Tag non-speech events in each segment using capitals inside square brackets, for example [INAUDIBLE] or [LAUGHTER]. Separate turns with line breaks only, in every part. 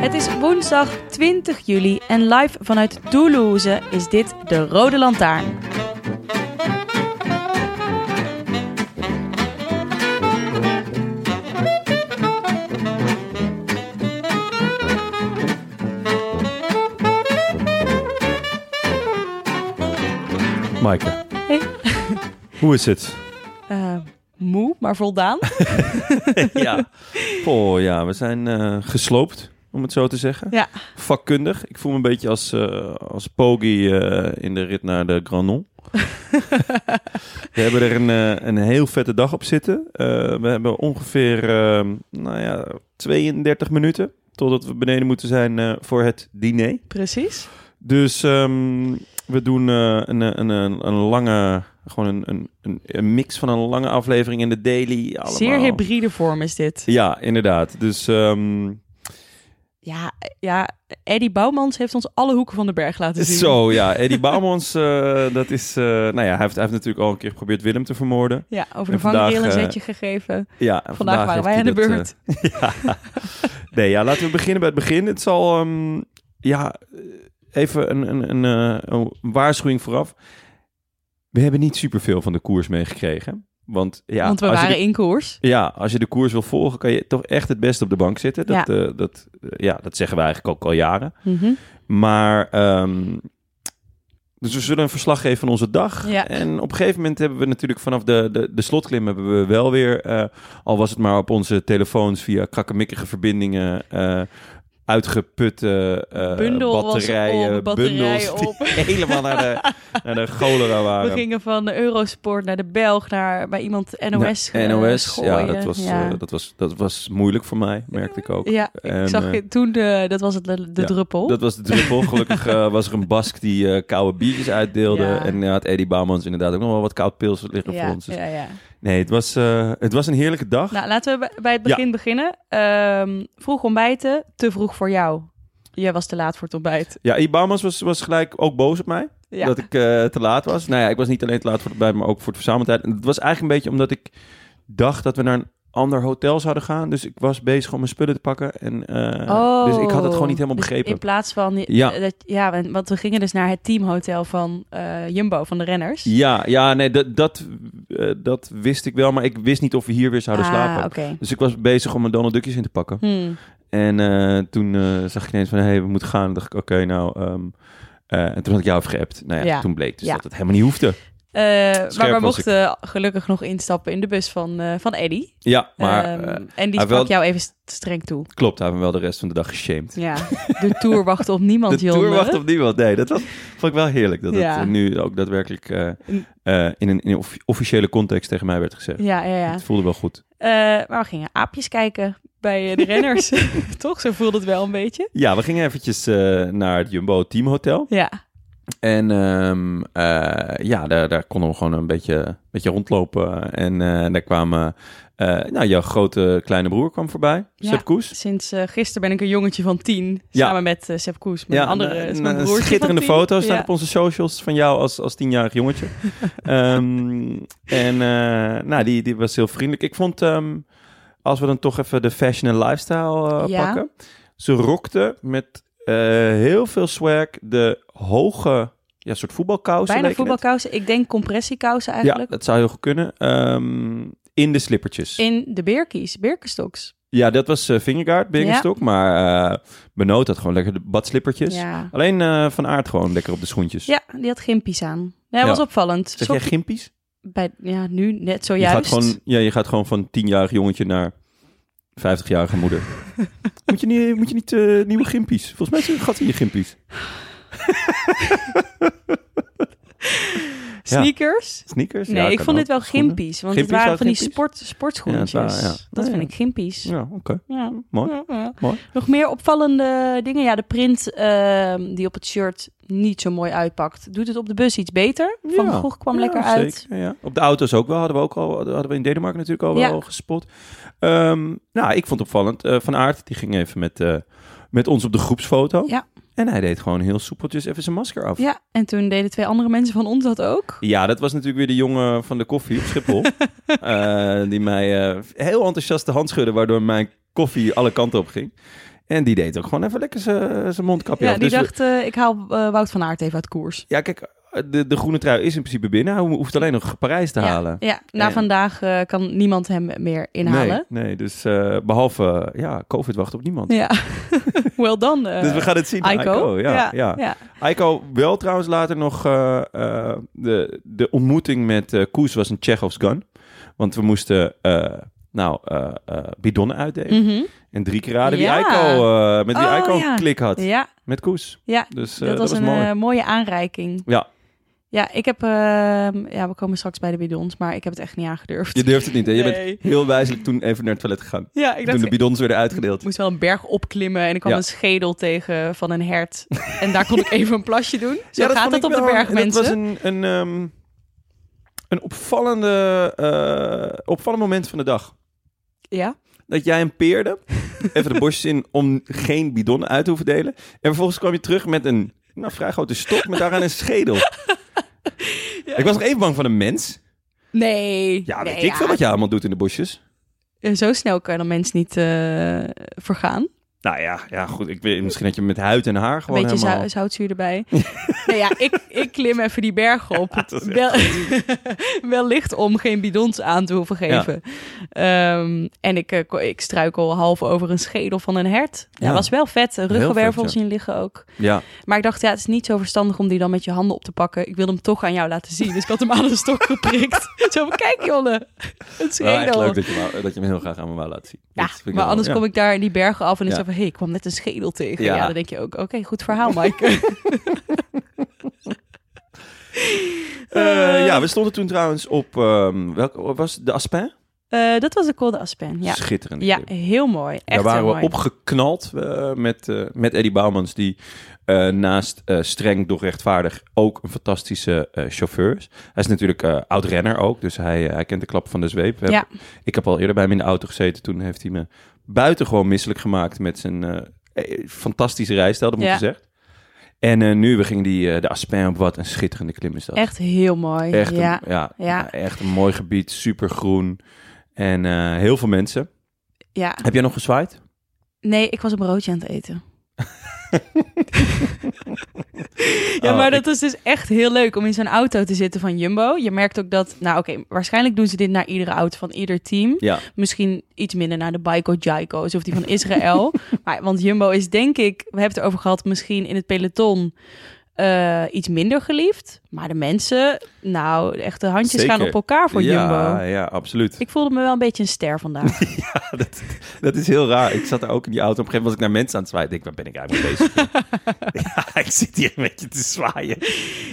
Het is woensdag 20 juli en live vanuit Toulouse is dit de Rode Lantaarn.
Maaike,
Hey.
hoe is het?
Eh, moe, maar voldaan.
ja. Oh ja, we zijn eh, gesloopt, om het zo te zeggen.
Ja.
Vakkundig. Ik voel me een beetje als, eh als Pogi eh, in de rit naar de
[LAUGHS]
Granon. we hebben er een, eh, een heel vette dag op zitten. Eh, we hebben ongeveer eh, nou ja, 32 minuten totdat we beneden moeten zijn eh, voor het diner.
[LAUGHS] Precies.
Dus ehm, we doen eh, een, een, een, een lange, gewoon een, een, een, een mix van een lange aflevering in de daily. Allemaal.
Zeer hybride vorm is dit.
Ja, inderdaad. Dus ehm,
Ja, ja, Eddie Bouwmans heeft ons alle hoeken van de berg laten zien.
zo ja, Eddie Bouwmans, eh, dat is, eh, nou ja, hij heeft, hij heeft natuurlijk al een keer geprobeerd Willem te vermoorden.
Ja, over de
En
vangrail
vandaag,
een
eh,
zetje gegeven.
Ja,
Vandaag, waren wij aan de
heeft hij dat, eh,
beurt.
ja. Nee, ja, laten we beginnen bij het begin. Het zal, ehm, ja, even een, een, een, eh, een waarschuwing vooraf. We hebben niet superveel van de koers meegekregen. Want, ja,
want we
als je
waren
de-
in koers.
Ja, als je de koers wil volgen, kan je toch echt het beste op de bank zitten. Dat, ja. dat, eh, ja, dat zeggen we eigenlijk ook al jaren.
Mhm.
Maar, ehm, dus we zullen een verslag geven van onze dag.
Ja.
En op een gegeven moment hebben we natuurlijk vanaf de, de, de slotklim hebben we wel weer, eh, al was het maar op onze telefoons via krakkemikkige verbindingen, eh, uitgeputte eh,
Bundel was
batterijen,
op, batterijen
bundels die [LAUGHS]
op.
helemaal naar de, naar de cholera waren.
We gingen van de Eurosport naar de Belg, naar bij iemand NOS.
Nou,
eh,
NOS, ja,
gooien.
dat was,
Ja.
eh, dat, was, dat was moeilijk voor mij, merkte ik ook.
Ja,
En,
ik zag
eh,
het toen, de, dat was het, de de
ja,
druppel.
Dat was de druppel.
[LAUGHS]
Gelukkig eh, was er een Bask die eh, koude biertjes uitdeelde.
Ja.
En ja, had Eddie Bouwmans inderdaad ook nog wel wat koud pils liggen
ja,
voor ons. Dus-
ja, ja.
Nee, het was, eh, het was een heerlijke dag.
Nou, laten we bij- bij het begin beginnen. Ehm, vroeg ontbijten, te vroeg voor jou. Jij was te laat voor het ontbijt.
Ja, Eddie Bouwmans was, was gelijk ook boos op mij.
Ja,
Dat ik eh, te laat was. Nou ja, ik was niet alleen te laat voor het bij, maar ook voor het verzameltijd. En het was eigenlijk een beetje omdat ik dacht dat we naar een ander hotel zouden gaan. Dus ik was bezig om mijn spullen te pakken. En, eh,
Oh,
dus ik had het gewoon niet helemaal
dus
begrepen.
in plaats van... die-
Ja.
eh, Dat, ja, en- want we gingen dus naar het teamhotel van eh, Jumbo, van de renners.
Ja, ja nee, dat, dat, eh, dat wist ik wel, maar ik wist niet of we hier weer zouden
ah,
slapen.
oké.
Dus ik was bezig om mijn Donald Duckjes in te pakken.
Hmm.
En eh, toen eh, zag ik ineens van, hé, hey, we moeten gaan. Toen dacht ik, oké, nou... ehm, eh, en toen had ik jou geappt. Nou ja,
Ja.
toen bleek dus
Ja.
dat het helemaal niet hoefde.
Eh, maar
Scherp
we
was
mochten gelukkig nog instappen in de bus van, eh, van Eddy.
Ja, maar
Ehm,
eh,
en die
hij
sprak
wel-
jou even st- streng toe.
klopt, hij hebben we wel de rest van de dag geshamed.
[LAUGHS] Ja, de Tour wacht op niemand,
de
jongen.
tour wacht op niemand. Nee, dat was, vond ik wel heerlijk. Dat
Ja.
het eh, nu ook daadwerkelijk eh,
Mm.
eh, in een, in een offi- officiële context tegen mij werd gezegd.
Ja, ja, ja.
Het voelde wel goed.
Eh, maar we gingen aapjes kijken bij
[LAUGHS]
eh, de renners. Toch? Zo voelde het wel een beetje.
Ja, we gingen eventjes eh, naar het Jumbo Team Hotel.
Ja,
En ehm, eh, ja, daar, daar konden we gewoon een beetje, een beetje rondlopen. En eh, daar kwamen... eh, nou, jouw grote kleine broer kwam voorbij,
Ja.
Sepp Koes.
sinds eh, gisteren ben ik een jongetje van tien.
Ja.
Samen met eh Sepp Koes, mijn andere
een-
is
een-
mijn
een
broertje
schitterende
van tien.
foto's staan
Ja.
op onze socials van jou als, als tienjarig
[LAUGHS]
jongetje. Ehm, en eh, nou, die, die was heel vriendelijk. Ik vond, ehm, als we dan toch even de fashion en lifestyle eh,
Ja.
pakken. Ze rokte met eh, heel veel swag de hoge, ja, soort voetbalkousen.
Bijna
leken het.
voetbalkousen. Ik denk compressiekousen
Ja,
eigenlijk.
dat zou heel goed kunnen. Ehm, in de slippertjes.
In de beerkies, beerkenstoks.
Ja, dat was eh Vingergaard, Birkenstock. Maar eh Benoot had gewoon lekker de badslippertjes.
Ja.
Alleen eh, Van Aert gewoon lekker op de schoentjes.
ja, die had gimpies aan. Ja,
Ja.
was opvallend.
Zeg jij
Sok-
gimpies?
bij, ja, nu net
Je
zojuist.
gaat, gewoon, ja, je gaat gewoon van tienjarig jongetje naar 50-jarige
[LAUGHS]
moeder. moet je niet, moet je niet eh, nieuwe gimpies? Volgens mij is het een gat in je gimpies.
Sneakers?
Sneakers?
Nee,
Ja,
ik
kan
vond dit
ook.
wel
Schoenen.
gimpies. Want
Gimpies
het waren
waren
van die
gimpies?
sport, sportschoentjes.
Ja, het waren- ja.
Dat
Ja,
vind
ja.
ik gimpies.
Ja, oké.
Ja.
Mooi.
Ja, ja.
Mooi.
Nog meer opvallende dingen. Ja, de print ehm, die op het shirt niet zo mooi uitpakt. Doet het op de bus iets beter? Van
Ja.
vroeg kwam
Ja,
lekker
zeker,
uit.
ja. Op de auto's ook wel. Hadden we ook al. Hadden we in Denemarken natuurlijk al
Ja.
wel gespot. Ehm, nou, ik vond het opvallend. eh, Van Aert die ging even met, eh, met ons op de groepsfoto.
Ja.
En hij deed gewoon heel soepeltjes even zijn masker af.
Ja, en toen deden twee andere mensen van ons dat ook.
Ja, dat was natuurlijk weer de jongen van de koffie op
[LAUGHS]
Schiphol. Eh, die mij eh, heel enthousiast de hand schudde, waardoor mijn koffie alle kanten op ging. En die deed ook gewoon even lekker zijn zijn mondkapje
Ja,
af.
die
Dus we-
dacht, eh, ik haal eh, Wout van Aert even uit koers.
ja, kijk, de, de groene trui is in principe binnen. Hij hoeft alleen nog Parijs te
Ja.
halen.
Ja, na
En-
vandaag eh, kan niemand hem meer inhalen.
Nee, nee dus eh, behalve, eh, ja, COVID wacht op niemand.
Ja, [LAUGHS] well done. eh,
Dus we gaan het zien.
Aiko.
ja. ja.
ja.
Aiko wel trouwens later nog... eh, eh, de, de ontmoeting met eh, Koes was een Chekhov's gun. Want we moesten, eh, nou, eh, eh, bidonnen uitdelen.
Mhm.
En drie keer raden wie
Ja.
Aiko, eh, met wie
Oh,
Aiko
ja.
klik had.
ja,
Met Koes.
ja.
Dus eh,
dat, was een
mooi.
eh, mooie aanreiking.
Ja.
Ja, ik heb... ehm, ja, we komen straks bij de bidons, maar ik heb het echt niet aangedurfd.
Je durft het niet, hè? Je
Nee.
bent heel wijzelijk toen even naar het toilet gegaan.
Ja, ik
toen
dacht,
de bidons werden uitgedeeld.
ik moest wel een berg opklimmen en ik kwam
Ja.
een schedel tegen van een hert. En daar kon ik even een plasje doen. Zo
Ja,
gaat
vond
het
ik
op de
wel-
berg,
en dat
mensen.
was een, een, ehm, een opvallende, eh, opvallend moment van de dag.
Ja,
Dat jij
[LAUGHS]
hem peerde, even de borstjes in, om geen bidonnen uit te hoeven delen. En vervolgens kwam je terug met een nou, vrij grote stok met daaraan een
[LAUGHS]
schedel. Ik was nog even bang van een mens.
nee.
Ja, weet
nee,
ik veel wat jij allemaal doet in de bosjes.
Eh, Zo snel kan een mens niet eh, vergaan.
Nou ja, ja goed. Ik weet, misschien dat je met huid en haar gewoon
een beetje
helemaal...
zou- zoutzuur
[LAUGHS]
erbij. nee, ja, ik, ik klim even die bergen op.
dat is echt
Wel, [LAUGHS] wellicht om geen bidons aan te hoeven geven. Ehm, en ik, eh, ko- ik struikel half over een schedel van een hert. Ja,
Ja.
was wel vet. Een
vet,
Ruggenwervels
ja.
zien liggen ook.
Ja,
Maar ik dacht, ja, het is niet zo verstandig om die dan met je handen op te pakken. Ik wilde hem toch aan jou laten zien. Dus ik had hem aan een
[LAUGHS]
stok geprikt. zo van, kijk Jonne, een
wel Ah, echt
schedel.
leuk dat je, wou- dat je hem heel graag aan me wou laten zien.
Ja,
Dat vind ik
maar
wel-
anders
ja.
kom ik daar in die bergen af en is
Ja.
zo van, hé, ik kwam net een schedel tegen. Ja,
Ja.
dan denk je ook, oké, goed verhaal, Mike.
[LAUGHS] Eh, ja, we stonden toen trouwens op... ehm welke was het? De Aspin?
Eh, dat was de Col de Aspen, ja.
Schitterend.
Ja, heel mooi. Echt
Daar waren
heel
we
mooi.
opgeknald eh, met, eh met Eddie Bouwmans, die eh, naast eh, streng, doch rechtvaardig ook een fantastische eh, chauffeur is. Hij is natuurlijk eh oud-renner ook, dus hij, eh, hij kent de klap van de zweep. We
Ja.
hebben- Ik heb al eerder bij hem in de auto gezeten. Toen heeft hij me buitengewoon misselijk gemaakt met zijn eh, eh, fantastische rijstijl, dat moet
Ja.
je zeggen. En eh, nu, we gingen die, eh, de Aspin op, wat een schitterende klim is dat.
Echt heel mooi.
Echt,
ja.
een, ja,
ja.
echt een mooi gebied, super groen en eh, heel veel mensen.
ja.
Heb jij nog gezwaaid?
Nee, ik was een broodje aan het
[LAUGHS]
eten. ja,
Oh,
maar
ik-
dat is dus echt heel leuk om in zo'n auto te zitten van Jumbo. Je merkt ook dat, nou oké, waarschijnlijk doen ze dit naar iedere auto van ieder team.
Ja.
Misschien iets minder naar de Baiko Jaiko's of die van
[LAUGHS]
Israël. maar, want Jumbo is denk ik, we hebben het erover gehad, misschien in het peloton eh, iets minder geliefd. Maar de mensen, nou, echt de handjes
Zeker.
gaan op elkaar voor
ja,
Jumbo.
Ja, absoluut.
Ik voelde me wel een beetje een ster
[LAUGHS]
vandaag.
Ja, dat, dat is heel raar. Ik zat daar ook in die auto. Op een gegeven moment was ik naar mensen aan het zwaaien. Ik denk, waar ben ik eigenlijk mee
[LAUGHS]
bezig? ja, ik zit hier een beetje te zwaaien.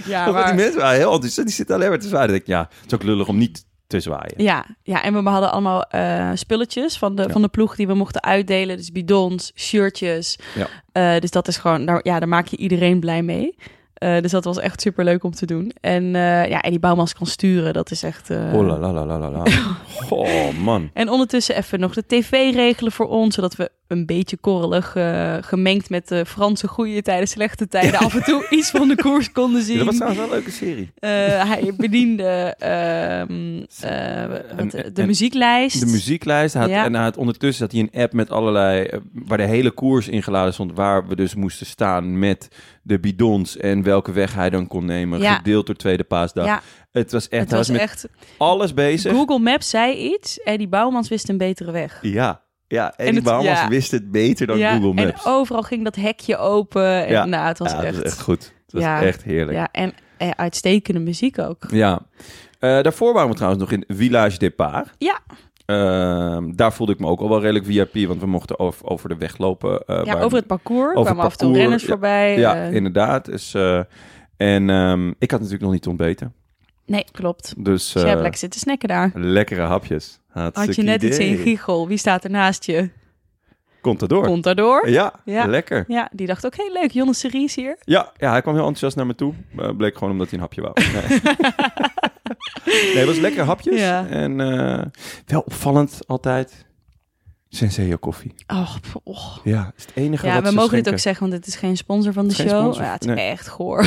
ja,
Want Die mensen waren heel enthousiast. Die zitten alleen maar te zwaaien. Ik denk, ja, het is ook lullig om niet te zwaaien.
Ja, ja en we hadden allemaal eh, spulletjes van de,
Ja.
van de ploeg die we mochten uitdelen. Dus bidons, shirtjes.
Ja.
Eh, dus dat is gewoon, daar, ja, daar maak je iedereen blij mee. Eh, dus dat was echt super leuk om te doen. En, eh, ja, en die bouwmans kan sturen, dat is echt. eh,
Oh, la, la, la, la, la, la.
[LAUGHS]
Goh, man.
En ondertussen even nog de tv regelen voor ons, zodat we een beetje korrelig eh, gemengd met de Franse goede tijden, slechte tijden, af en toe
[LAUGHS]
iets van de koers konden zien.
Ja, dat was trouwens wel een leuke serie.
Eh, hij bediende ehm, eh, wat-
En-
de
en-
muzieklijst.
De muzieklijst. Hij Had,
Ja.
En hij had ondertussen had hij een app met allerlei... eh, waar de hele koers ingeladen stond. Waar we dus moesten staan met de bidons. En welke weg hij dan kon nemen.
Ja.
Gedeeld door Tweede Paasdag.
Ja,
Het was echt...
het
hij
was
was met
echt
alles bezig.
Google Maps zei iets en die Bouwmans wist een betere weg.
Ja, Ja, en,
En
die
het-
Bahamas
ja.
wist het beter dan Google
en
Maps.
overal ging dat hekje open. En,
Ja.
nou, het was
ja,
echt...
dat is echt goed. Dat
Ja.
is echt heerlijk.
ja, en eh, uitstekende muziek ook.
Ja. Eh, daarvoor waren we trouwens nog in Village Départ.
Ja.
Ehm, daar voelde ik me ook al wel redelijk VIP, want we mochten over, over de weg lopen. eh,
Ja,
waar-
over het parcours
over
kwamen
het
af en toe
parcours,
renners
ja.
voorbij.
Ja,
eh,
inderdaad. Dus, eh, en ehm, ik had natuurlijk nog niet ontbeten.
nee, klopt.
Dus
Dus jij hebt
eh,
lekker zitten snacken daar.
lekkere hapjes.
Had je net iets in
idee.
Giegel. Wie staat er naast je?
Komt erdoor.
Komt daardoor.
Ja,
Ja.
lekker.
Ja, die dacht ook, heel leuk, Jonne Series
[LAUGHS]
hier.
Ja, ja, hij kwam heel enthousiast naar me toe. Eh, bleek gewoon omdat hij een hapje wou.
[LAUGHS]
Nee, nee het was lekker hapjes.
Ja.
En eh, wel opvallend altijd. Senseo koffie.
Oh, pff, och.
Ja, is het enige
Ja,
wat
we
ze
mogen dit ook
schenken.
zeggen, want dit is geen sponsor van de
Geen
show.
sponsor,
Ja, het is
nee.
echt goor.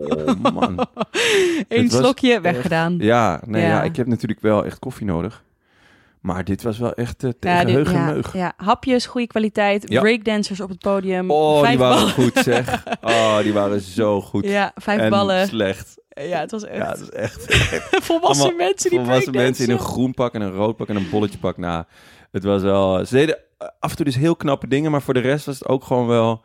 Oh, man.
[LAUGHS] Eén
was
slokje,
echt-
weggedaan.
Ja, nee, ja.
Ja.
ik heb natuurlijk wel echt koffie nodig. Maar dit was wel echt eh
Ja,
tegen
dit-
heug en
ja,
meug.
ja, hapjes, goede kwaliteit.
Ja.
Breakdancers op het podium.
Oh,
vijf
die waren
ballen.
goed
[LAUGHS]
zeg. Oh, die waren zo goed.
Ja, vijf
en
ballen.
slecht.
Ja, het was echt
Ja, dat is echt.
[LAUGHS] volwassen
allemaal
mensen die
volwassen mensen in een
breakdansen.
groen pak en een rood pak en een bolletje pak. Nou, het was wel... Ze deden eh, af en toe dus heel knappe dingen, maar voor de rest was het ook gewoon wel...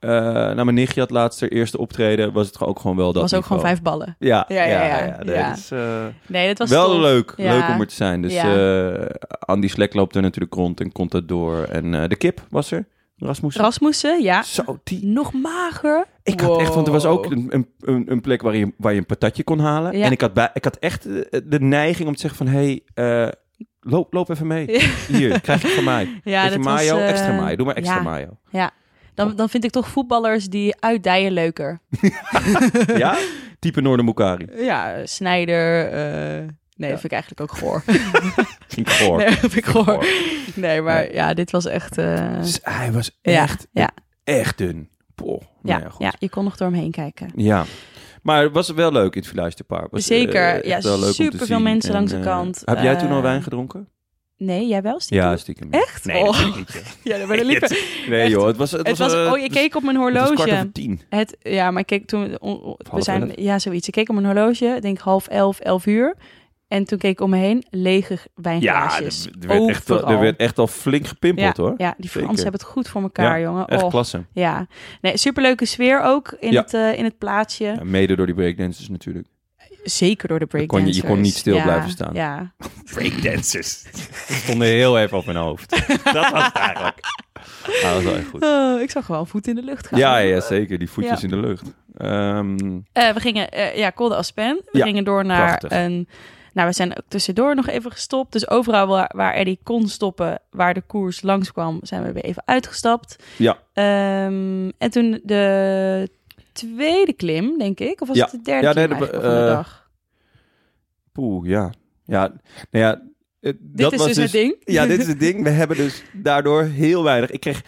eh nou, mijn nichtje had laatst haar eerste optreden, was het ook gewoon wel dat
was ook gewoon
niveau.
vijf ballen.
Ja, ja,
Ja,
ja.
ja,
ja,
ja.
Nee,
Ja.
dat is, eh,
Nee, dat was
wel
tof.
leuk.
Ja.
Leuk om er te zijn. Dus
Ja.
eh, Andy Slek loopt er natuurlijk rond en komt dat door. En eh, de kip was er, Rasmussen.
Rasmussen, ja.
Zo, die
Nog mager.
ik had echt, want er was ook
Wow.
een, een- een, een plek waar je, waar je een patatje kon halen.
Ja.
En ik had, bij, ik had echt eh, de neiging om te zeggen van... Hé, hey, eh, loop, loop even mee.
Ja.
Hier, krijg je van
[LAUGHS]
mij.
Ja,
Even
dat was,
mayo,
eh,
extra mayo. Doe maar extra
ja.
mayo.
Dan, dan vind ik toch voetballers die uitdijen leuker. [LAUGHS]
Ja? Type Noordermoekari.
Ja, Snijder. eh, Nee, dat vind ik eigenlijk ook goor.
Vind ik goor.
[LAUGHS] Nee, dat vind ik
Goor.
goor. Nee, maar
Nee.
ja, dit was echt... eh,
Dus hij was
Ja,
echt,
ja.
echt dun. Poh,
ja,
nou ja, goed.
ja, je kon nog door hem heen kijken.
Ja. Maar het was wel leuk in het Village de Park. Was, eh,
Zeker.
echt
Ja,
wel leuk om te
superveel
zien.
mensen langs de
eh,
kant.
Heb jij toen al
Eh,
wijn gedronken?
Nee, jij wel stiekem?
Ja, stiekem.
Echt?
Nee,
Oh.
natuurlijk niet, joh.
[LAUGHS] Ja, daar ben ik liever.
Nee
Echt.
joh, het was... Het,
Het was,
eh,
oh, je
het
keek op mijn
was- Het was kwart
horloge.
over tien.
Het, ja, maar ik keek toen... on- on- we
half
zijn,
elf.
ja, zoiets. Ik keek op mijn horloge, ik denk half elf, elf uur. En toen keek ik om me heen, lege g-
Ja,
wijnglaasjes.
er er werd, echt, al- er
Overal.
werd echt al flink gepimpeld
ja,
hoor.
Ja, die
Zeker.
Fransen hebben het goed voor elkaar,
Ja,
jongen.
Echt
Och,
klasse.
ja. Nee, superleuke sfeer ook in,
Ja.
het, eh, in het plaatsje.
Ja, mede door die breakdancers natuurlijk.
Zeker door de
Je kon je- je
breakdancers.
kon niet stil
Ja,
blijven staan.
Ja,
Breakdancers. stonden heel even op mijn hoofd. Dat was het eigenlijk. [LAUGHS] Ah, dat was wel echt goed.
Oh, ik zag gewoon voet in de lucht gaan.
Ja, ja, zeker. Die voetjes
Ja.
in de lucht. Ehm,
Eh, we gingen, eh, ja, Col de Aspen. We
Ja,
gingen door naar
prachtig.
een... Nou, we zijn ook tussendoor nog even gestopt. Dus overal waar, waar Eddie kon stoppen, waar de koers langskwam, zijn we weer even uitgestapt.
ja,
Ehm, en toen de tweede klim, denk ik. Of was
Ja.
het de derde
Ja,
klim
nee, de-
eigenlijk van de
eh,
dag?
poeh, ja. Ja, nou ja. het-
Dit
dat
is
was
dus het ding. [LAUGHS]
Ja, dit is het ding. We hebben dus daardoor heel weinig. Ik kreeg.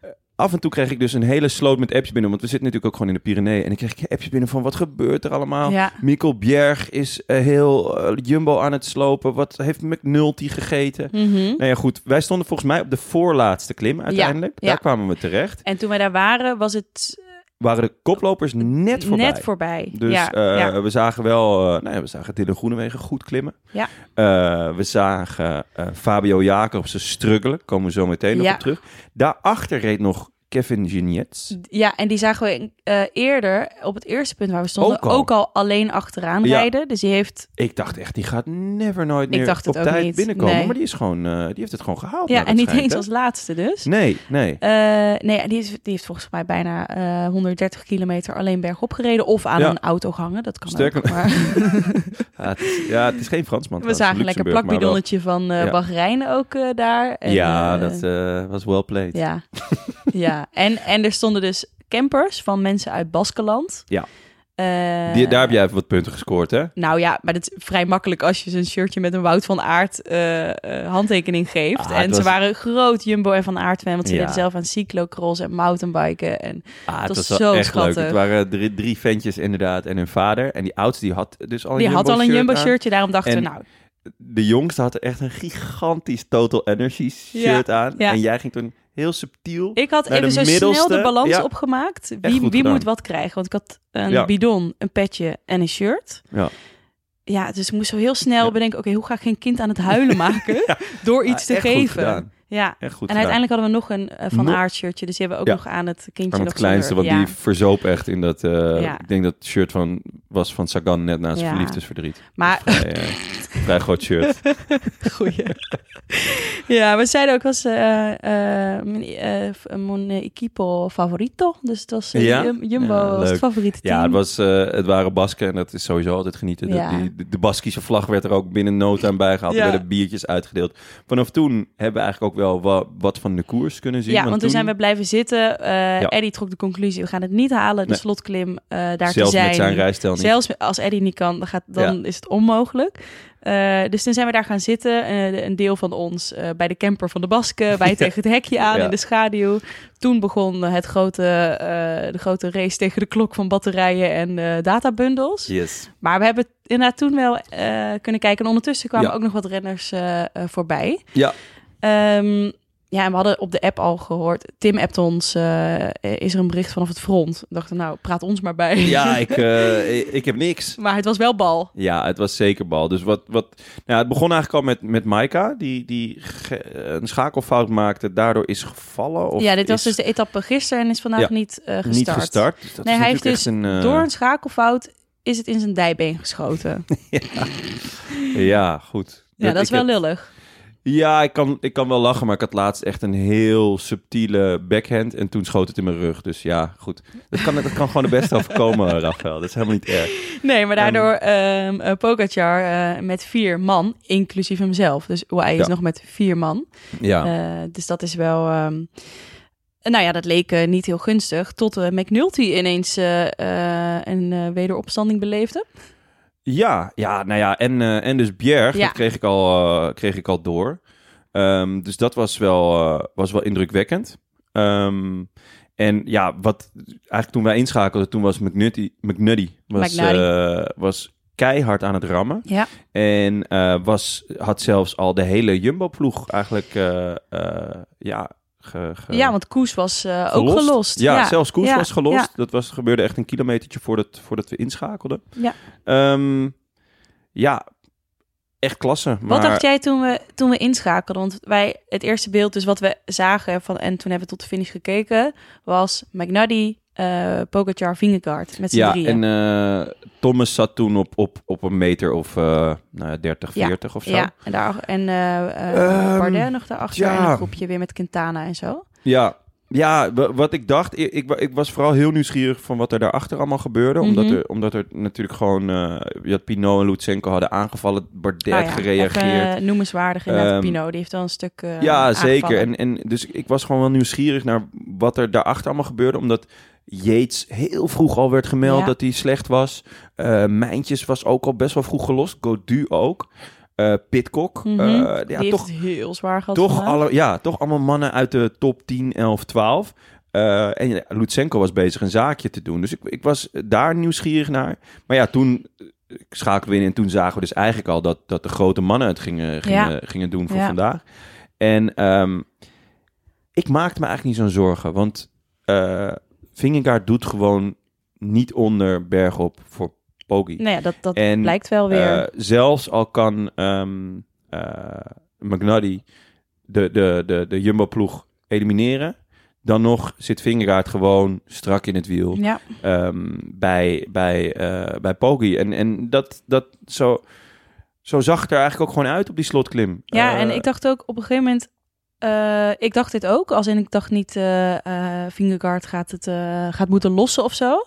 eh, Af en toe kreeg ik dus een hele sloot met apps binnen. Want we zitten natuurlijk ook gewoon in de Pyreneeën. En ik kreeg appjes binnen van wat gebeurt er allemaal?
Ja,
Mikkel Bjerg is eh, heel eh, Jumbo aan het slopen. Wat heeft McNulty gegeten?
mhm.
Nou ja, goed. Wij stonden volgens mij op de voorlaatste klim uiteindelijk.
ja.
Daar kwamen we terecht.
En toen wij daar waren, was het
Waren de koplopers net voorbij.
net voorbij.
Dus
ja,
eh,
ja.
we zagen wel, eh, nou ja, we zagen Dylan Groenewegen goed klimmen.
Ja.
Eh, we zagen eh, Fabio Jacobsen struggelen. Komen we zo meteen nog
Ja.
op terug. Daarachter reed nog Kevin Genietz.
Ja, en die zagen we eh, eerder op het eerste punt waar we stonden
Ook
ook
al.
al, alleen achteraan
Ja.
rijden. Dus die heeft.
Ik dacht echt, die gaat never nooit
Ik
meer
dacht
op
het ook
tijd
niet.
binnenkomen.
Nee.
Maar die, is gewoon, eh, die heeft het gewoon gehaald.
Ja,
naar
en
het
niet
schijnt,
eens
hè?
als laatste dus.
Nee, nee.
Eh, nee, die heeft, die heeft volgens mij bijna eh, 130 kilometer alleen bergop gereden. Of aan
Ja.
een auto hangen. Dat kan
Sterker
ook.
[LAUGHS]
Maar
Ja, het is, ja, het is geen Fransman.
we
trouwens,
zagen een lekker
Luxemburg, maar wel-
plakbidonnetje van eh
Ja.
Bahrein ook eh, daar. En,
Ja,
eh,
dat eh, was well played.
Ja, [LAUGHS] ja. En, en er stonden dus campers van mensen uit Baskeland.
Ja.
Eh,
Die, daar heb jij even wat punten gescoord, hè?
Nou ja, maar dat is vrij makkelijk als je zo'n shirtje met een Wout van Aert eh, eh, handtekening geeft.
Ah,
en
het
ze
was-
waren groot Jumbo en van Aert fan, want ze
Ja.
deden zelf aan cyclocross en mountainbiken. En
Ah, het
Dat
was
was
wel
zo
echt
schattig.
leuk. Het waren drie, drie ventjes inderdaad en hun vader. En die oudste die had dus al een
die had al een
Jumbo-shirt
Jumbo
aan.
shirtje, daarom dachten
En-
we nou,
De jongste had echt een gigantisch Total Energy shirt aan.
ja.
En jij ging toen heel subtiel.
ik had
Naar de
even zo snel
middelste,
de balans
ja.
opgemaakt.
goed
Wie, wie
gedaan.
moet wat krijgen? Want ik had een
Ja.
bidon, een petje en een shirt.
Ja.
Ja, dus ik moest zo heel snel
Ja. [LAUGHS]
bedenken, oké, hoe ga ik geen kind aan het huilen maken door
Ah,
iets te
echt goed
geven?
gedaan.
Ja.
Echt goed
En
gedaan.
uiteindelijk hadden we nog een eh, Van
Nog-
Aert shirtje. Dus die hebben we
Ja.
ook nog aan het kindje
Aan
nog
het kleinste, want
gehuurd.
die verzoop echt in dat... eh,
Ja.
Ik denk dat het shirt van, was van Sagan net naast
Ja.
Verliefdesverdriet.
Ja. Maar
Dat
[LAUGHS]
is Vrij, eh, vrij groot shirt.
Goeie. [LAUGHS] ja, we zeiden ook was eh eh mijn, eh, mijn equipo favorito. Dus het was eh,
Ja?
Jum- Jumbo
Ja,
was
leuk.
het favoriete team.
Ja, het, was, eh, het waren Basken en dat is sowieso altijd genieten. Dat
Ja.
die- de, de Baskische vlag werd er ook binnen no time bijgehaald.
Ja.
Er werden biertjes uitgedeeld. Vanaf toen hebben we eigenlijk ook wel wa- wat van de koers kunnen zien.
ja, want toen
toen
zijn we blijven zitten. Eh Eddie trok de conclusie, we gaan het niet halen. De
Nee.
slotklim eh, daar
zelfs
te zijn.
met zijn rijstijl niet.
Zelfs als Eddie niet kan, dan, gaat, dan is het onmogelijk. Eh, dus toen zijn we daar gaan zitten. eh, een deel van ons eh, bij de camper van de
[LAUGHS]
Basken. Wij tegen het hekje aan
Ja.
in de schaduw. Toen begon het grote, eh, de grote race tegen de klok van batterijen en eh databundels.
Yes.
Maar we hebben het inderdaad toen wel eh, kunnen kijken. En ondertussen kwamen
Ja.
ook nog wat renners eh, eh, voorbij.
Ja.
Ehm, ja, en we hadden op de app al gehoord. Tim appt ons, eh, is er een bericht vanaf het front? We dachten, nou, praat ons maar bij.
Ja, ik, eh, ik, ik heb niks.
[LAUGHS] Maar het was wel bal.
Ja, het was zeker bal. Dus wat, wat, nou, ja, het begon eigenlijk al met, met Maika, die, die ge- een schakelfout maakte. Daardoor is gevallen. Of
ja, dit was
is
dus de etappe gisteren en is vandaag
Ja,
niet eh, gestart.
niet gestart. Dus dat
Nee,
is
hij heeft
natuurlijk
dus
echt een, eh,
door een schakelfout is het in zijn dijbeen
[LAUGHS]
geschoten.
eh, Ja, goed.
ja, dat is
ik
wel
heb-
lullig.
Ja, ik kan, ik kan wel lachen, maar ik had laatst echt een heel subtiele backhand. En toen schoot het in mijn rug. Dus ja, goed. Dat kan, dat kan gewoon de beste overkomen, Rafael. Dat is helemaal niet erg.
Nee, maar daardoor ehm eh, Pogacar eh, met vier man, inclusief hemzelf. Dus hij is
Ja.
nog met vier man.
Ja,
Eh, dus dat is wel... ehm, nou ja, dat leek eh, niet heel gunstig. Tot eh, McNulty ineens eh, eh, een eh, wederopstanding beleefde.
ja, ja nou ja. En, eh, en dus Bjerg,
Ja.
dat kreeg ik al, eh, kreeg ik al door. Ehm, dus dat was wel, eh, was wel indrukwekkend. Ehm, en ja, wat eigenlijk toen wij inschakelden, toen was McNutty, McNuddy was,
McNuddy.
eh, was keihard aan het rammen.
Ja.
En eh, was, had zelfs al de hele Jumbo-ploeg eigenlijk eh, eh, ja, ge- ge-
ja, want Koes was eh, ook gelost.
Ja, zelfs Koers
Ja.
was gelost.
Ja.
Dat was, gebeurde echt een kilometertje voordat, voordat we inschakelden.
Ja.
Ehm, ja, echt klasse.
Wat
maar-
dacht jij toen we, toen we inschakelden? Want wij, het eerste beeld dus wat we zagen van, en toen hebben we tot de finish gekeken, was McNuddy, eh Pogacar, Vingegaard met z'n
Ja,
drieën.
en eh, Thomas zat toen op, op, op een meter of eh, nou ja, 30,
Ja.
40 of zo.
ja, en, daar, en eh eh,
Ehm,
Bardet nog daarachter
ja.
en een groepje weer met Quintana en zo.
Ja, ja wa- wat ik dacht, ik, ik, wa- ik was vooral heel nieuwsgierig van wat er daarachter allemaal gebeurde. omdat,
Mhm.
er, omdat er natuurlijk gewoon, eh je had Pinot en Lutsenko hadden aangevallen, Bardet
Nou
had
ja,
gereageerd.
Even, eh, noemenswaardig inderdaad,
Ehm,
Pino, die heeft wel een stuk eh,
ja, zeker.
aangevallen.
En, en, dus ik was gewoon wel nieuwsgierig naar wat er daarachter allemaal gebeurde. Omdat Yates heel vroeg al werd gemeld
Ja.
dat hij slecht was. Eh Mijntjes was ook al best wel vroeg gelost. Godu ook. Eh Pitcock.
Mhm.
Eh,
die
ja,
heeft
toch
het heel zwaar gehad.
toch,
vandaag.
alle, ja, toch allemaal mannen uit de top 10, 11, 12. Eh, en ja, Lutsenko was bezig een zaakje te doen. Dus ik, ik was daar nieuwsgierig naar. Maar ja, toen eh, schakelden we in en toen zagen we dus eigenlijk al dat, dat de grote mannen het gingen, gingen, gingen doen voor
Ja.
vandaag. En ehm, ik maakte me eigenlijk niet zo'n zorgen. Want eh Vingegaard doet gewoon niet onder bergop voor Poggi.
Nou ja, dat, dat
En,
blijkt wel weer.
Eh, zelfs al kan ehm eh, McNuddy de, de, de, de Jumbo-ploeg elimineren, dan nog zit Vingegaard gewoon strak in het wiel
ja.
ehm, bij, bij, eh, bij Poggi. En, en dat, dat zo, zo zag het er eigenlijk ook gewoon uit op die slotklim.
Ja,
Eh,
en ik dacht ook op een gegeven moment. eh, ik dacht dit ook, als in ik dacht niet, eh eh Vingegaard gaat het eh, gaat moeten lossen of zo.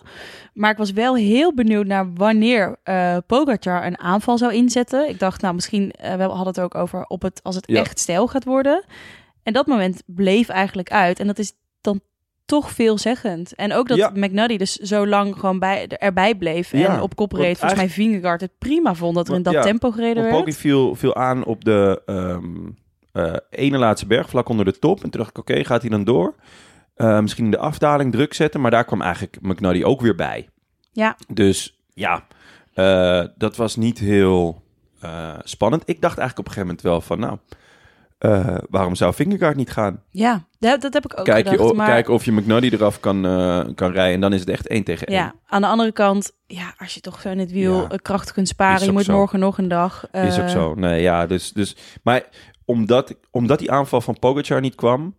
Maar ik was wel heel benieuwd naar wanneer eh Pogacar een aanval zou inzetten. Ik dacht, nou misschien, eh, we hadden het ook over op het, als het
Ja.
echt stijl gaat worden. En dat moment bleef eigenlijk uit. En dat is dan toch veelzeggend. En ook dat
Ja.
McNuddy dus zo lang gewoon bij, erbij bleef en
Ja,
op kop
want
reed. Volgens mij Vingegaard het prima vond dat er in
Want-
dat
ja,
tempo gereden
Want
werd.
Poggi viel, viel aan op de ehm, eh, ene laatste berg, vlak onder de top. En toen dacht ik, oké, gaat hij dan door? Eh, misschien in de afdaling druk zetten. Maar daar kwam eigenlijk McNuddy ook weer bij.
Ja.
Dus ja, eh, dat was niet heel eh, spannend. Ik dacht eigenlijk op een gegeven moment wel van, nou... eh, waarom zou Vingegaard niet gaan?
Ja, dat, dat heb ik ook
Kijk, je,
gedacht.
o-
maar
Kijken of je McNuddy eraf kan, eh, kan rijden. En dan is het echt één tegen één.
ja, aan de andere kant, ja, als je toch zo in het wiel
Ja.
eh, krachtig kunt
Is
sparen, je
ook
moet
zo.
morgen nog een dag.
Is ook
eh,
zo. Nee, ja, dus, dus, maar omdat, omdat die aanval van Pogacar niet kwam,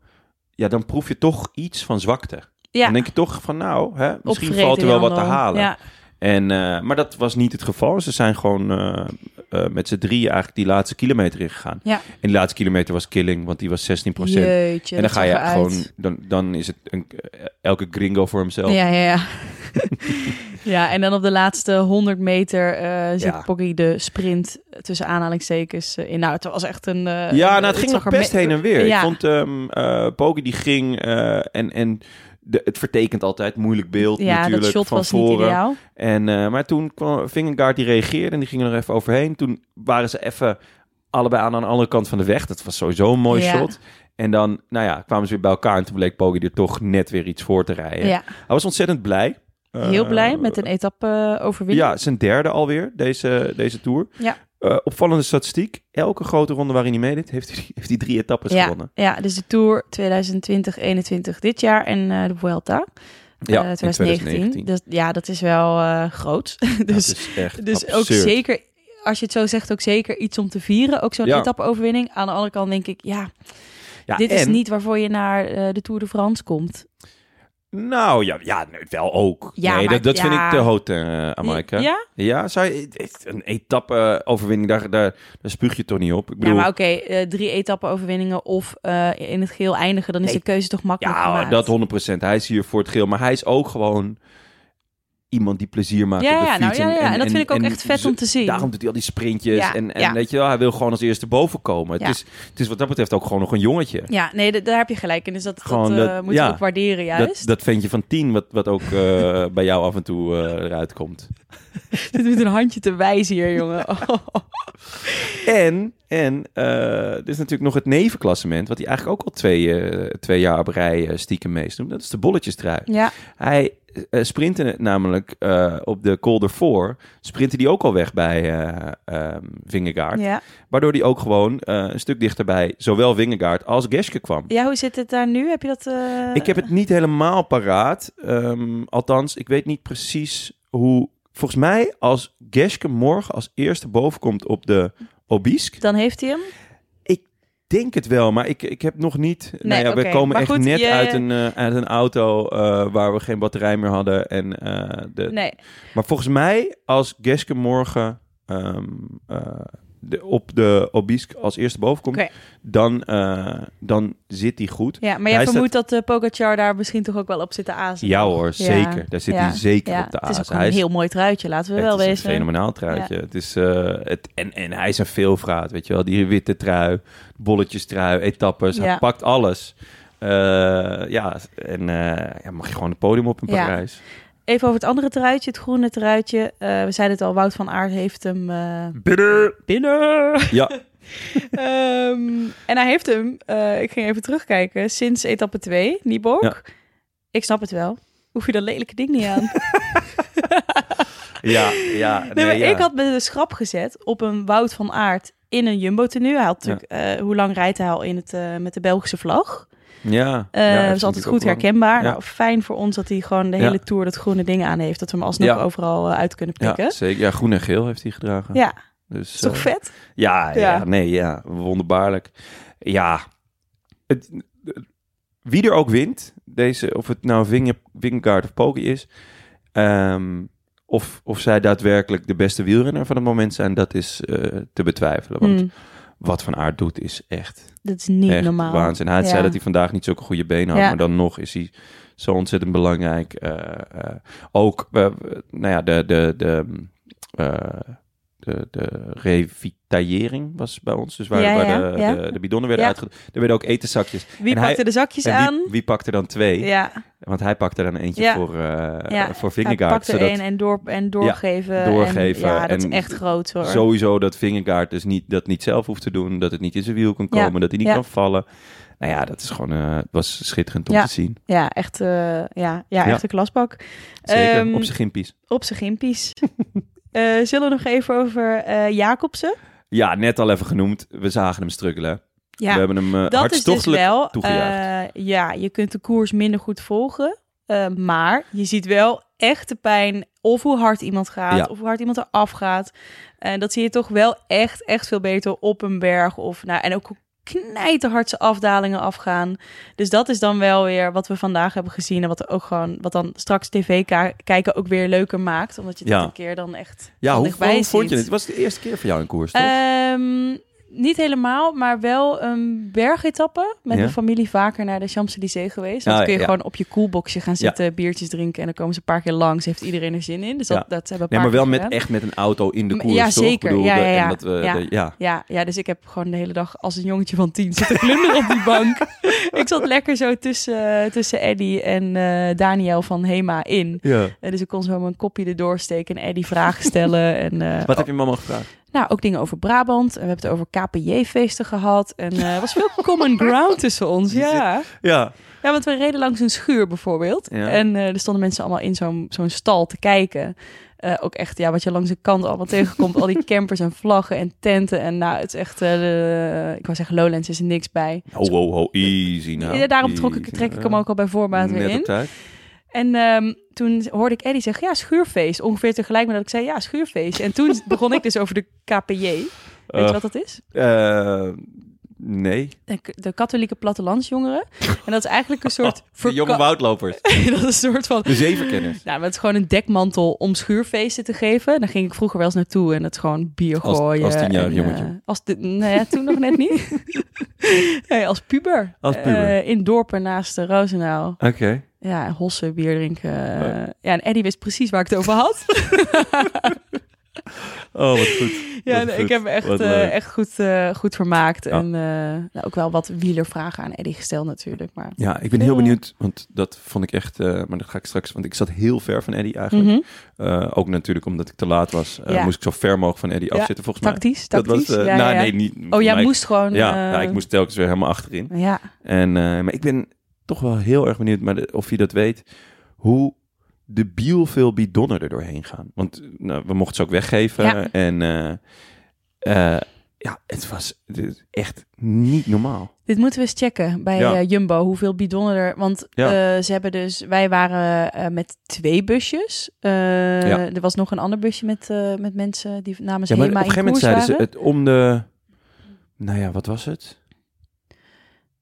ja, dan proef je toch iets van zwakte.
Ja,
Dan denk je toch van, nou, hè, misschien
opgevreten
valt er wel
Jan
wat te
dan.
halen.
Ja,
En, eh, maar dat was niet het geval. Ze zijn gewoon eh, eh, met z'n drieën eigenlijk die laatste kilometer ingegaan.
Ja.
En die laatste kilometer was killing, want die was 16%.
jeetje.
en dan
dat
ga
zag
je
eruit.
gewoon, dan, dan is het een, elke gringo voor hemzelf.
Ja, ja,
[LAUGHS]
ja. ja, en dan op de laatste 100 meter eh zet
Ja.
Poggi de sprint tussen aanhalingstekens eh, in. Nou, het was echt een... eh,
Ja, nou, het ging
zag
nog
er
best
me-
heen en weer.
Ja.
Ik vond ehm eh, Poggi die ging eh, en, en de, het vertekent altijd moeilijk beeld
Ja,
natuurlijk
dat shot
van
was niet
voren.
ideaal.
en, eh, maar toen kwam Vingegaard die reageerde en die ging er even overheen. Toen waren ze even allebei aan, aan de andere kant van de weg. Dat was sowieso een mooi
Ja.
shot. En dan, nou ja, kwamen ze weer bij elkaar en toen bleek Poggi er toch net weer iets voor te rijden.
Ja,
Hij was ontzettend blij.
heel
Eh,
blij met een etappe eh, overwinning.
ja, zijn derde alweer, deze, deze Tour.
Ja.
Eh, opvallende statistiek. Elke grote ronde waarin hij meedeed, heeft hij, heeft hij drie etappes
ja,
gewonnen.
ja, dus de Tour 2020-21 dit jaar en eh, de Vuelta eh,
in
2019. Dus, ja, dat is wel eh, groot. [LAUGHS] dus
dat is echt
dus ook
absurd.
zeker, als je het zo zegt, ook zeker iets om te vieren. Ook zo'n
Ja.
etappe-overwinning. Aan de andere kant denk ik, ja,
Ja,
dit is
en-
niet waarvoor je naar eh, de Tour de France komt.
Nou, ja, ja nee, wel ook.
Ja,
nee,
maar-
dat, dat
ja.
vind ik te hoog, eh Amaika. Ja,
Ja,
zou je, echt een etappe-overwinning, daar, daar, daar spuug je toch niet op. Ik
ja
bedoel,
maar oké, eh, drie etappe-overwinningen of eh, in het geel eindigen. Dan is
Nee.
de keuze toch makkelijk
ja,
gemaakt.
dat 100%. Hij is hier voor het geel, maar hij is ook gewoon iemand die plezier maakt
Ja,
op de
ja,
fiets.
nou, ja, ja. En, dat vind ik ook
en
echt vet
zo-
om te zien.
Daarom doet hij al die sprintjes.
Ja,
en en
ja.
weet je wel, hij wil gewoon als eerste boven komen.
Ja.
Het, is, het is wat dat betreft ook gewoon nog een jongetje.
Ja, nee, da- daar heb je gelijk in. Dus dat,
Gewoon
dat, eh,
dat-
moet je
ja.
ook waarderen
Dat,
juist.
dat ventje van tien, wat, wat ook eh, [LAUGHS] bij jou af en toe eh, eruit komt.
[LAUGHS] Dit doet een handje te wijzen hier, jongen. [LAUGHS]
En, en eh, er is natuurlijk nog het nevenklassement, wat hij eigenlijk ook al twee, eh, twee jaar op rij eh, stiekem meestoet. Dat is de bolletjestrui.
ja,
Hij eh, sprintte het namelijk eh, op de Col d'Or, sprintte die ook al weg bij eh ehm, Vingegaard.
ja.
Waardoor hij ook gewoon eh, een stuk dichterbij zowel Vingegaard als Geske kwam.
ja, hoe zit het daar nu? Heb je dat... eh,
Ik heb het niet helemaal paraat. Ehm, althans, ik weet niet precies hoe... Volgens mij als Geske morgen als eerste bovenkomt op de Obisk...
Dan heeft hij hem.
denk het wel, maar ik, ik heb nog niet. Nee, nou ja,
oké.
we komen
Maar
echt
goed,
net
je-
uit, een, eh, uit een auto eh, waar we geen batterij meer hadden. En, eh, de,
Nee,
Maar volgens mij, als Geske morgen ehm, eh, de, op de Obisk als eerste boven komt,
Oké.
dan, eh, dan zit die goed.
Ja, maar jij
Hij staat-
vermoedt dat eh Pogacar daar misschien toch ook wel op zit te azen.
Ja hoor,
Ja.
zeker. Daar zit
Ja.
hij zeker
Ja,
op de
Het is ook
aas.
gewoon een heel mooi truitje, laten we
het
wel
is een
wezen.
fenomenaal truitje. Het is, eh, het, en, en hij is een veelvraat, weet je wel. Die witte trui, bolletjes trui, etappes.
Ja.
Hij pakt alles. Eh, ja, en eh, ja, mag je gewoon het podium op in
Ja.
Parijs.
Even over het andere truitje, het groene truitje. Eh, we zeiden het al, Wout van Aert heeft hem eh,
Binnen!
binnen.
Ja,
[LAUGHS] Ehm, en hij heeft hem, eh, ik ging even terugkijken, sinds etappe 2, Nieborg.
Ja.
Ik snap het wel. Hoef je dat lelijke ding niet aan.
ja, ja.
[LAUGHS] Nee, maar
ja.
ik had me de schrap gezet op een Wout van Aert in een Jumbo-tenue. Hij had natuurlijk, eh, hoe lang rijdt hij al in het, eh, met de Belgische vlag?
Ja.
Eh,
Ja,
dat is
dat is
altijd
natuurlijk
goed
ook lang.
herkenbaar.
Ja.
Nou, fijn voor ons dat hij gewoon de
Ja.
hele tour dat groene ding aan heeft. Dat we hem alsnog
Ja.
overal eh, uit kunnen pikken.
Ja,
Ja,
zeker. Ja, groen en geel heeft hij gedragen. Dus,
is toch
eh,
vet?
Ja, ja,
Ja.
nee, ja, wonderbaarlijk. Ja, het, het- wie er ook wint, deze, of het nou Vinge- Vingegaard of Poggi is, ehm, of, of zij daadwerkelijk de beste wielrenner van het moment zijn, dat is eh, te betwijfelen. Want
Mm,
wat Van Aert doet is echt,
dat is niet
echt
normaal.
waanzin. Hij zei
Ja.
dat hij vandaag niet zulke goede benen had,
Ja.
maar dan nog is hij zo ontzettend belangrijk. Eh, eh, ook, eh, nou ja, de... de, de eh, de, de revitaillering was bij ons. Dus waar,
Ja,
waar
ja,
de,
ja.
de, de bidonnen werden
Ja.
uitgedrukt. Er werden ook etenzakjes.
Wie
en
pakte
hij-
de zakjes
en
aan?
wie, wie pakte dan twee?
ja,
Want hij pakte dan eentje
Ja.
voor, eh
Ja.
voor
hij
Vingegaard.
pakte er
Zodat
één en, door, en doorgeven. en-
doorgeven
ja, dat
en
is echt groot hoor.
sowieso dat Vingegaard dus niet, dat niet zelf hoeft te doen. Dat het niet in zijn wiel kan
Ja.
komen. Dat hij niet
Ja.
kan vallen. Nou ja, dat is gewoon, eh, het was schitterend om
Ja.
te zien.
Ja, echt, eh, ja, ja, echt een klasbak.
Zeker,
Ehm,
op zijn gimpies.
Op zijn gimpies. [LAUGHS] Eh, zullen we nog even over eh Jacobsen?
Ja, net al even genoemd. We zagen hem struggelen.
Ja,
We hebben hem eh,
dat is dus
hartstochtelijk
wel.
toegejaagd.
eh, ja, je kunt de koers minder goed volgen. eh, maar je ziet wel echt de pijn. Of hoe hard iemand gaat.
Ja.
Of hoe hard iemand eraf gaat. En dat zie je toch wel echt, echt veel beter op een berg. Of, nou, en ook hoe knijterhard ze afdalingen afgaan. Dus dat is dan wel weer wat we vandaag hebben gezien. En wat, er ook gewoon, wat dan straks tv ka- kijken ook weer leuker maakt. Omdat je dat
Ja.
een keer dan echt
Ja,
van
hoe
dichtbij
hoe vond
ziet.
je het? Het was de eerste keer voor jou in koers, toch?
Ehm, niet helemaal, maar wel een bergetappe. Met
Ja.
mijn familie vaker naar de Champs-Élysées geweest.
Ah,
Dan kun je
ja.
gewoon op je koelboxje gaan
Ja.
zitten, biertjes drinken. En dan komen ze een paar keer langs. Heeft iedereen er zin in? Dus dat,
Ja.
dat hebben we
nee,
een
maar
paar
wel met,
keer
echt met een auto in de
Maar-
koers,
ja,
toch? Ik
zeker.
bedoel,
Ja,
de-
ja, ja.
En dat we,
Ja.
de- ja.
gedaan. Ja, ja, dus ik heb gewoon de hele dag als een jongetje van tien zitten glunderen op die bank.
[LAUGHS]
Ik zat lekker zo tussen, eh, tussen Eddie en eh, Daniel van Hema in.
Ja.
En dus ik kon zo mijn kopje erdoor steken en Eddie vragen stellen. En, eh,
Wat heb je hem allemaal gevraagd?
Nou, ook dingen over Brabant. En we hebben het over KPJ-feesten gehad. En eh, er was veel common ground tussen ons. Ja.
Ja.
ja, want we reden langs een schuur bijvoorbeeld.
Ja.
En eh, er stonden mensen allemaal in zo'n zo'n stal te kijken. Eh, ook echt, ja, wat je langs de kant allemaal tegenkomt. al die campers en vlaggen en tenten. En nou, het is echt... eh, de- ik wou zeggen, Lowlands is er niks bij.
Ho, Nou, ho, ho. Easy nou.
ja, daarom trok ik,
Easy
trek ik
nou.
hem ook al bij voorbaat weer
Net op
in.
tijd.
En ehm, toen hoorde ik Eddie zeggen, ja, schuurfeest. Ongeveer tegelijk met dat ik zei, ja, schuurfeest. En toen begon ik dus over de KPJ. Weet je
Eh,
wat dat is?
eh, nee.
de, de katholieke plattelandsjongeren. En dat is eigenlijk
[LAUGHS]
een soort...
De
[LAUGHS]
jonge
verka-
woudlopers.
dat is een soort van...
De zevenkenners.
Nou, maar het is gewoon een dekmantel om schuurfeesten te geven. Daar ging ik vroeger wel eens naartoe en dat is gewoon bier
Als-
gooien.
als tienjarig
en,
jongetje.
eh, als de, nou ja, toen nog net
[LAUGHS]
niet. Nee, als puber.
Als puber.
Eh, in dorpen naast de Roosendaal.
[LAUGHS] Oké.
Ja, en hossen, bier drinken. eh. Ja, en Eddie wist precies waar ik het over
[LAUGHS]
had.
Oh, wat goed.
ja,
Wat
nee,
goed.
ik heb me echt,
Wat
eh,
leuk.
echt goed, eh, goed vermaakt.
Ja.
En eh, nou, ook wel wat wielervragen aan Eddie gesteld natuurlijk. Maar...
Ja, ik ben heel benieuwd, want dat vond ik echt... eh, maar dat ga ik straks... Want ik zat heel ver van Eddie eigenlijk.
Mhm.
Eh, ook natuurlijk omdat ik te laat was. eh,
Ja.
Moest ik zo ver mogelijk van Eddie
Ja,
afzitten, volgens mij.
Tactisch, tactisch.
Dat was, eh,
ja,
nou,
ja.
nee, niet...
Oh,
voor
jij
mij.
moest gewoon...
Ja,
eh,
ja, ik moest telkens weer helemaal achterin.
Ja,
En, eh, maar ik ben toch wel heel erg benieuwd maar de- of je dat weet. Hoe debiel veel bidonnen er doorheen gaan. Want eh, nou, we mochten ze ook weggeven.
Ja.
En eh, eh, ja, het was het is echt niet normaal.
dit moeten we eens checken bij
Ja.
eh, Jumbo, hoeveel bidonnen er... Want
Ja.
eh, ze hebben dus... Wij waren eh, met twee busjes. Eh, Er was nog een ander busje met, eh, met mensen die namens
Ja, maar op
Hema
een
in koers
gegeven moment zeiden ze
waren.
het om de... Nou ja, wat was het?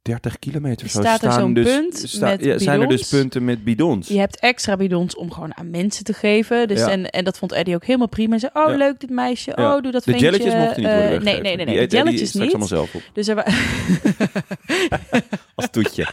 30 kilometer
Er
zo
staat er
staan
zo'n
dus,
punt met
ja, Zijn er dus
bidons.
punten met bidons?
Je hebt extra bidons om gewoon aan mensen te geven. Dus
Ja.
en, en dat vond Eddie ook helemaal prima. Hij zei, oh
Ja.
leuk dit meisje.
Ja.
Oh, doe dat
de
ventje.
jelletjes mochten niet
Eh,
worden weggegeven.
Nee, nee, nee.
Die
nee.
eet
De
Eddie
jelletjes
straks allemaal
niet.
zelf op.
Dus er, wa-
Als toetje.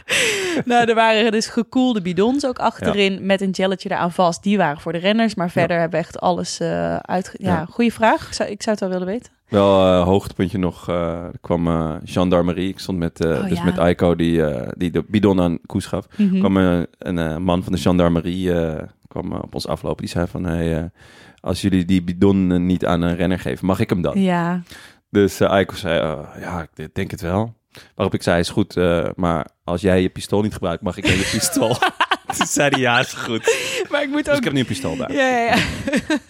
Nou, er waren dus gekoelde bidons ook achterin met een jelletje eraan vast. Die waren voor de renners, maar verder hebben we echt alles eh uitge... Ja,
Ja.
goede vraag. Ik zou, ik zou het wel willen weten.
Wel eh, hoogtepuntje nog. eh, er kwam eh, gendarmerie. Ik stond met, eh,
Oh,
dus
ja. Mhm.
met Aiko, die, eh, die de bidon aan Koes gaf. kwam eh, een eh, man van de gendarmerie eh, kwam, eh, op ons aflopen. Die zei van, hey, eh, als jullie die bidon eh, niet aan een renner geven, mag ik hem dan?
Ja,
Dus eh, Aiko zei, eh, ja, ik d- denk het wel. Waarop ik zei, is goed, eh, maar als jij je pistool niet gebruikt, mag ik dan
[LAUGHS]
je pistool? Toen zei hij, ja, is goed.
maar ik moet
Dus
ook...
ik heb nu een pistool bij.
Ja, ja, ja.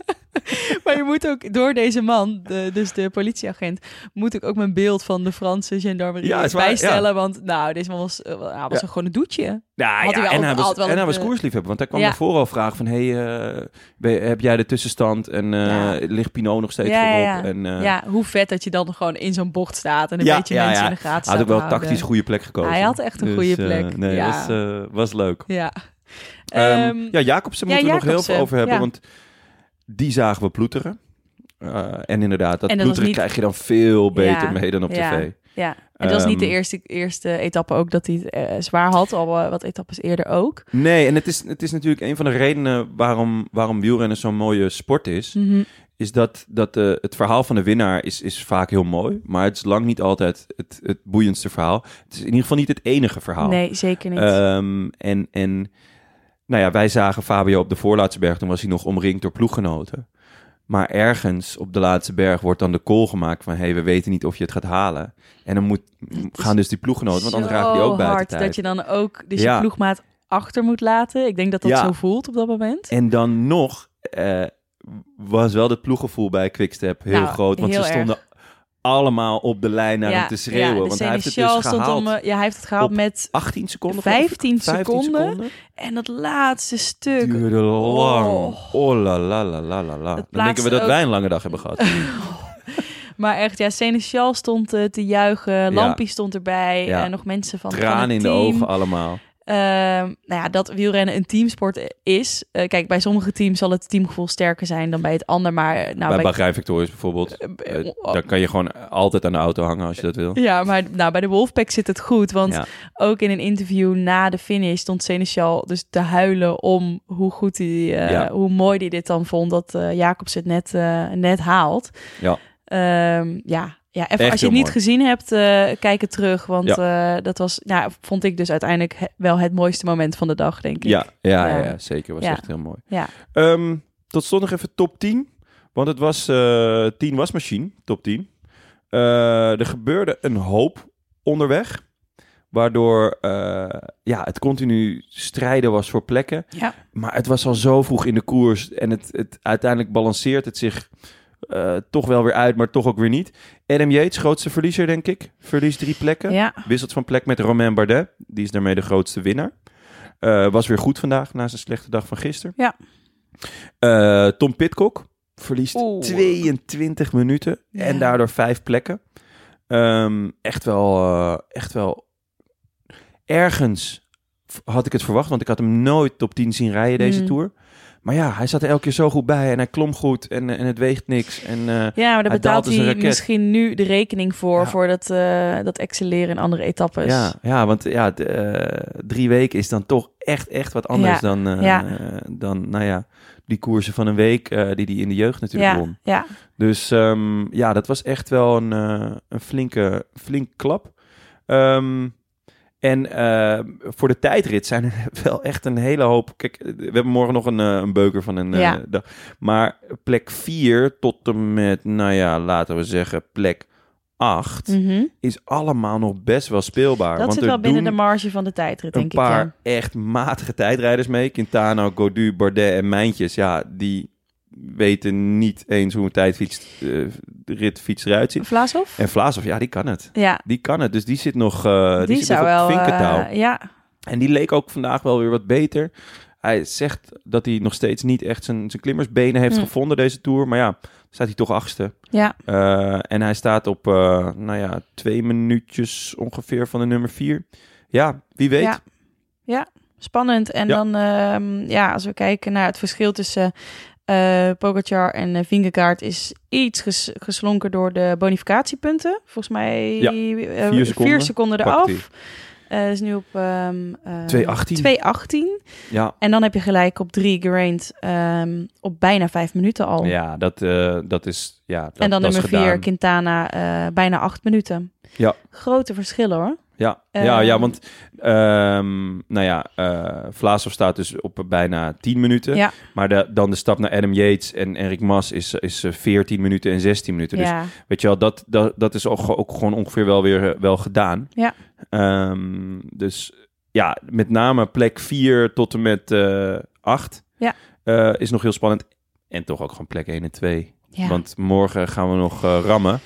[LAUGHS] maar je moet ook door deze man, de- dus de politieagent, moet ik ook mijn beeld van de Franse gendarmerie
Ja, is waar,
bijstellen. Want nou, deze man was, eh, wel- nou, was
Ja.
gewoon een doetje.
Nou,
Had hij wel
ja, en,
ook
hij was,
altijd wel
en hij
een,
was
eh,
koersliefhebber, want hij kwam
ja.
daarvoor al vragen van... hey, eh, ben- heb jij de tussenstand en eh,
Ja.
ligt Pinot nog steeds
Ja, ja,
voorop?
ja.
En, eh,
ja, hoe vet dat je dan gewoon in zo'n bocht staat en een
Ja,
beetje
ja,
mensen
ja.
in de gaten
hij had ook
staat
wel
te houden.
tactisch goede plek gekozen.
eh, Hij had echt een goede
eh,
plek,
nee,
ja.
was, eh, was leuk.
Ja.
Ehm,
Ehm,
ja, Jacobsen
ja,
moeten we nog heel
Jacobsen,
veel over hebben,
ja.
want die zagen we ploeteren. Eh, en inderdaad, dat,
En dat was
ploeteren
niet-
krijg je dan veel beter
Ja,
mee dan op
ja.
tv.
Ja, en dat was niet de
Ehm,
eerste, eerste etappe ook dat hij het eh, zwaar had, al eh, wat etappes eerder ook.
Nee, en het is, het is natuurlijk een van de redenen waarom, waarom wielrennen zo'n mooie sport is. is dat, dat eh, het verhaal van de winnaar is, is vaak heel mooi. Maar het is lang niet altijd het, het boeiendste verhaal. Het is in ieder geval niet het enige verhaal.
Nee, zeker niet.
Ehm, en, en nou ja, wij zagen Fabio op de voorlaatste berg. Toen was hij nog omringd door ploeggenoten. Maar ergens op de laatste berg wordt dan de call gemaakt van... hé, hey, we weten niet of je het gaat halen. En dan moet, gaan dus die ploeggenoten, want anders raken die
Zo
ook buiten
hard
tijd.
dat je dan ook dus
Ja.
je ploegmaat achter moet laten. Ik denk dat dat
Ja.
zo voelt op dat moment.
En dan nog eh, was wel het ploeggevoel bij Quickstep heel
Nou,
groot. Want
heel
ze stonden allemaal op de lijn naar
ja,
hem te schreeuwen.
ja, de
want hij heeft het
Seneschal
dus
stond
gehaald.
om, eh, ja, hij heeft het gehaald
op
met
18 seconden? geloof ik?
15
seconden.
seconden. En dat laatste stuk.
Duurde lang.
Oh.
Oh, la la la la la la. Dan denken
plaatste
we dat
ook-
wij een lange dag hebben gehad.
Maar echt, ja, Seneschal stond eh, te juichen. Lampie stond erbij.
Ja.
En nog mensen van, van het
Tranen in de
team.
ogen allemaal.
Ehm, nou ja, dat wielrennen een teamsport is. Eh, kijk, bij sommige teams zal het teamgevoel sterker zijn dan bij het ander. Maar eh, nou,
bij Bahrein Victorious bijvoorbeeld.
eh,
Eh, daar kan je gewoon altijd aan de auto hangen als je dat wil.
Ja, maar nou, bij de Wolfpack zit het goed. Want
Ja.
ook in een interview na de finish stond Seneschal dus te huilen om hoe goed hij, eh,
Ja.
hoe mooi hij dit dan vond dat eh Jacobs het net, eh, net haalt.
Ja.
Ehm, ja. Ja, even
Echt
als je het
heel
niet
mooi.
gezien hebt, eh, kijk het terug. Want eh, dat was, nou, vond ik dus uiteindelijk he- wel het mooiste moment van de dag, denk ik.
Ja, ja, ja,
Ja.
ja, zeker. Was
Ja.
echt heel mooi.
Ja.
Ehm, tot slot nog even top 10. Want het was eh 10 wasmachine, top 10. Eh, er gebeurde een hoop onderweg. Waardoor eh, ja, het continu strijden was voor plekken.
Ja.
Maar het was al zo vroeg in de koers. En het, het, uiteindelijk balanceert het zich eh, toch wel weer uit, maar toch ook weer niet. Adam Yates, grootste verliezer, denk ik. Verliest drie plekken.
ja.
Wisselt van plek met Romain Bardet. Die is daarmee de grootste winnaar. Eh, was weer goed vandaag, na zijn slechte dag van gisteren.
Ja.
Eh, Tom Pitcock verliest
Oeh.
22 minuten en
Ja.
daardoor vijf plekken. Ehm, echt, wel, eh, echt wel... Ergens v- had ik het verwacht, want ik had hem nooit top 10 zien rijden deze
Mm.
Tour. Maar ja, hij zat er elke keer zo goed bij en hij klom goed en, eh, en het weegt niks. En, eh,
Ja, maar daar
Hij daalt
betaalt
als een
hij
raket.
misschien nu de rekening voor,
Ja.
voor dat, eh, dat excelleren in andere etappes.
Ja, ja want ja, d- eh, drie weken is dan toch echt, echt wat anders
Ja,
dan, eh,
ja.
eh, dan nou ja, die koersen van een week eh, die die in de jeugd natuurlijk
ja,
won.
ja.
Dus ehm, ja, dat was echt wel een, eh, een flinke, flink klap. Ehm, en eh, voor de tijdrit zijn er [LAUGHS] wel echt een hele hoop... Kijk, we hebben morgen nog een, eh, een beuker van een eh,
Ja.
dag. Maar plek 4 tot en met, nou ja, laten we zeggen plek 8
Mhm.
is allemaal nog best wel speelbaar.
Dat
want
zit
er
wel binnen de
doen
marge van de tijdrit,
een
denk
paar
ik.
echt matige tijdrijders mee. Quintana, Godu, Bardet en Mijntjes. Ja, die weten niet eens hoe een tijdfiets, eh, ritfiets eruit
Ja.
ziet.
Vlaashoff?
En Vlaasov, ja, die kan het.
Ja,
Die kan het. Dus die zit nog, eh, die
die,
zit
zou
nog
wel...
op vinkertouw.
eh, ja,
En die leek ook vandaag wel weer wat beter. Hij zegt dat hij nog steeds niet echt zijn, zijn klimmersbenen heeft
Hm.
gevonden deze Tour. Maar ja, staat hij toch achtste.
ja,
Eh, en hij staat op, eh, nou ja, twee minuutjes ongeveer van de nummer vier. Ja, wie weet.
Ja. spannend. En
Ja.
dan, ehm, ja, als we kijken naar het verschil tussen eh Pogacar en eh, Vingegaard... is iets ges- geslonken door de bonificatiepunten. Volgens mij
Ja,
eh,
vier seconden pakt
eraf.
hij.
Eh, is nu op... ehm eh,
2.18.
2.18.
Ja,
En dan heb je gelijk op drie geraint ehm, op bijna vijf minuten al.
ja dat, eh, dat is, ja, dat,
Oh. en dan
dat is
nummer vier,
gedaan.
Quintana, eh, bijna acht minuten.
Ja.
Grote verschillen hoor.
Ja,
Eh,
ja, ja want ehm, nou ja, eh Vlaasov staat dus op bijna 10 minuten.
Ja.
Maar de, dan de stap naar Adam Yates en Erik Mas is, is eh, 14 minuten en 16 minuten. Dus
ja.
weet je wel, dat, dat, dat is ook, ge- ook gewoon ongeveer wel weer eh, wel gedaan.
Ja.
Ehm, dus ja, met name plek 4 tot en met 8
Ja.
is nog heel spannend. En toch ook gewoon plek 1 en 2.
ja.
Want morgen gaan we nog eh, rammen.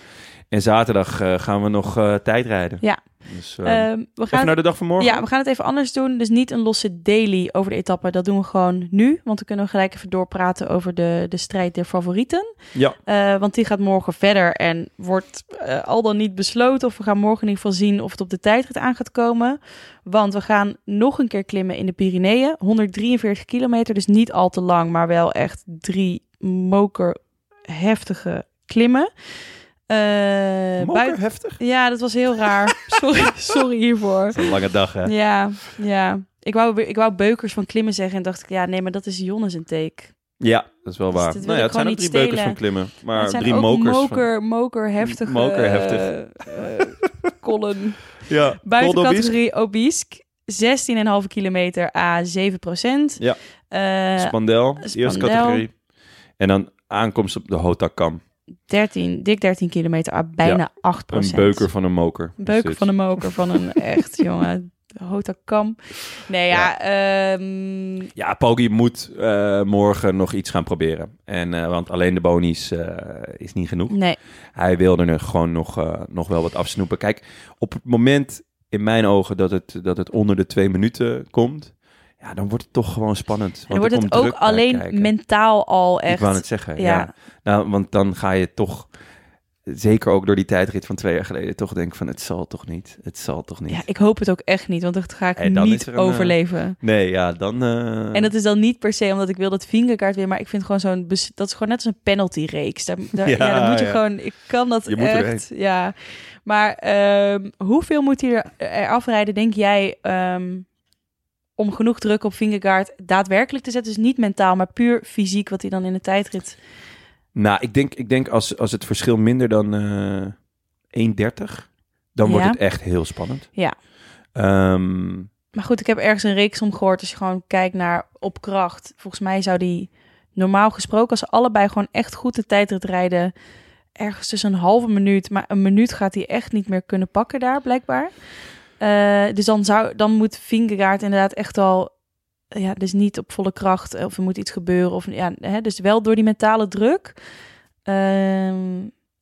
En zaterdag eh, gaan we nog eh tijdrijden.
Ja.
Dus, eh,
Ehm, we
even
gaan
naar de dag van morgen.
Ja, we gaan het even anders doen. Dus niet een losse daily over de etappe. Dat doen we gewoon nu. Want dan kunnen we gelijk even doorpraten over de, de strijd der favorieten.
Ja.
Eh, want die gaat morgen verder en wordt eh, al dan niet besloten. Of we gaan morgen in ieder geval zien of het op de tijdrit aan gaat komen. Want we gaan nog een keer klimmen in de Pyreneeën. 143 kilometer, dus niet al te lang. Maar wel echt drie moker heftige klimmen. Eh,
Moker
buiten-
heftig.
Ja, dat was heel raar. Sorry, sorry hiervoor.
een lange dag, hè?
Ja, ja. Ik wou, weer- ik wou beukers van klimmen zeggen en dacht ik, ja, nee, maar dat is Jonnes een take.
Ja, dat is wel
Dus
waar.
dit wil
nou ja,
ik
het zijn ook
gewoon
drie
niet
beukers
stelen.
van klimmen.
Maar
Maar
het zijn
drie
ook
mokers. van-
moker, moker heftige,
Mokerheftig.
eh, eh,
[LAUGHS]
kollen.
Ja,
Buiten
Koldobisk.
categorie Obiesk, 16,5 kilometer A, 7 procent. Eh,
Ja. Spandel, eerste
Spandel.
categorie. En dan aankomst op de Hotakam.
13, dik 13 kilometer A, bijna 8
Een beuker van een moker.
Oh,
Dus
Een
is
beuker
dit. [LAUGHS]
van een moker van een echt, jongen. Hotakam. Nee, ja. ehm,
Ja, Poggi moet eh, morgen nog iets gaan proberen. En, eh, want alleen de bonies eh, is niet genoeg.
nee.
Hij wilde er gewoon nog, eh, nog wel wat afsnoepen. Kijk, op het moment in mijn ogen dat het, dat het onder de twee minuten komt... Ja, dan wordt het toch gewoon spannend. Want
Dan
er
wordt het
komt
ook
druk bij
alleen
kijken.
mentaal al echt.
Ik wou het zeggen, ja.
ja.
Nou, want dan ga je toch... Zeker ook door die tijdrit van twee jaar geleden toch denken van... Het zal toch niet? Het zal toch niet?
Ja, ik hoop het ook echt niet, want dat ga ik
Hey, dan is
niet
er een, eh,
overleven.
Nee, ja, dan... eh,
En dat is dan niet per se omdat ik wil dat vingerkaart weer, maar ik vind gewoon zo'n bes- dat is gewoon net als een penalty reeks. Daar, daar-
[LAUGHS] Ja,
ja, dan moet je
ja.
gewoon. Ik kan dat
Je moet er
echt. ja, maar ehm, hoeveel moet hij er, er afrijden? Denk jij ehm, om genoeg druk op vingerkaart daadwerkelijk te zetten? Dus niet mentaal, maar puur fysiek wat hij dan in de tijdrit.
Nou, ik denk, ik denk als, als het verschil minder dan eh 1,30, dan wordt
Ja.
het echt heel spannend.
Ja.
Ehm,
Maar goed, ik heb ergens een reeks om gehoord. Als je gewoon kijkt naar op kracht. Volgens mij zou die normaal gesproken, als ze allebei gewoon echt goed de tijdrit rijden. Ergens tussen een halve minuut. Maar een minuut gaat hij echt niet meer kunnen pakken daar, blijkbaar. Eh, dus dan, zou, dan moet Vingegaard inderdaad echt al... Ja, dus niet op volle kracht. eh, Of er moet iets gebeuren. Of, ja, hè, dus wel door die mentale druk. Ehm,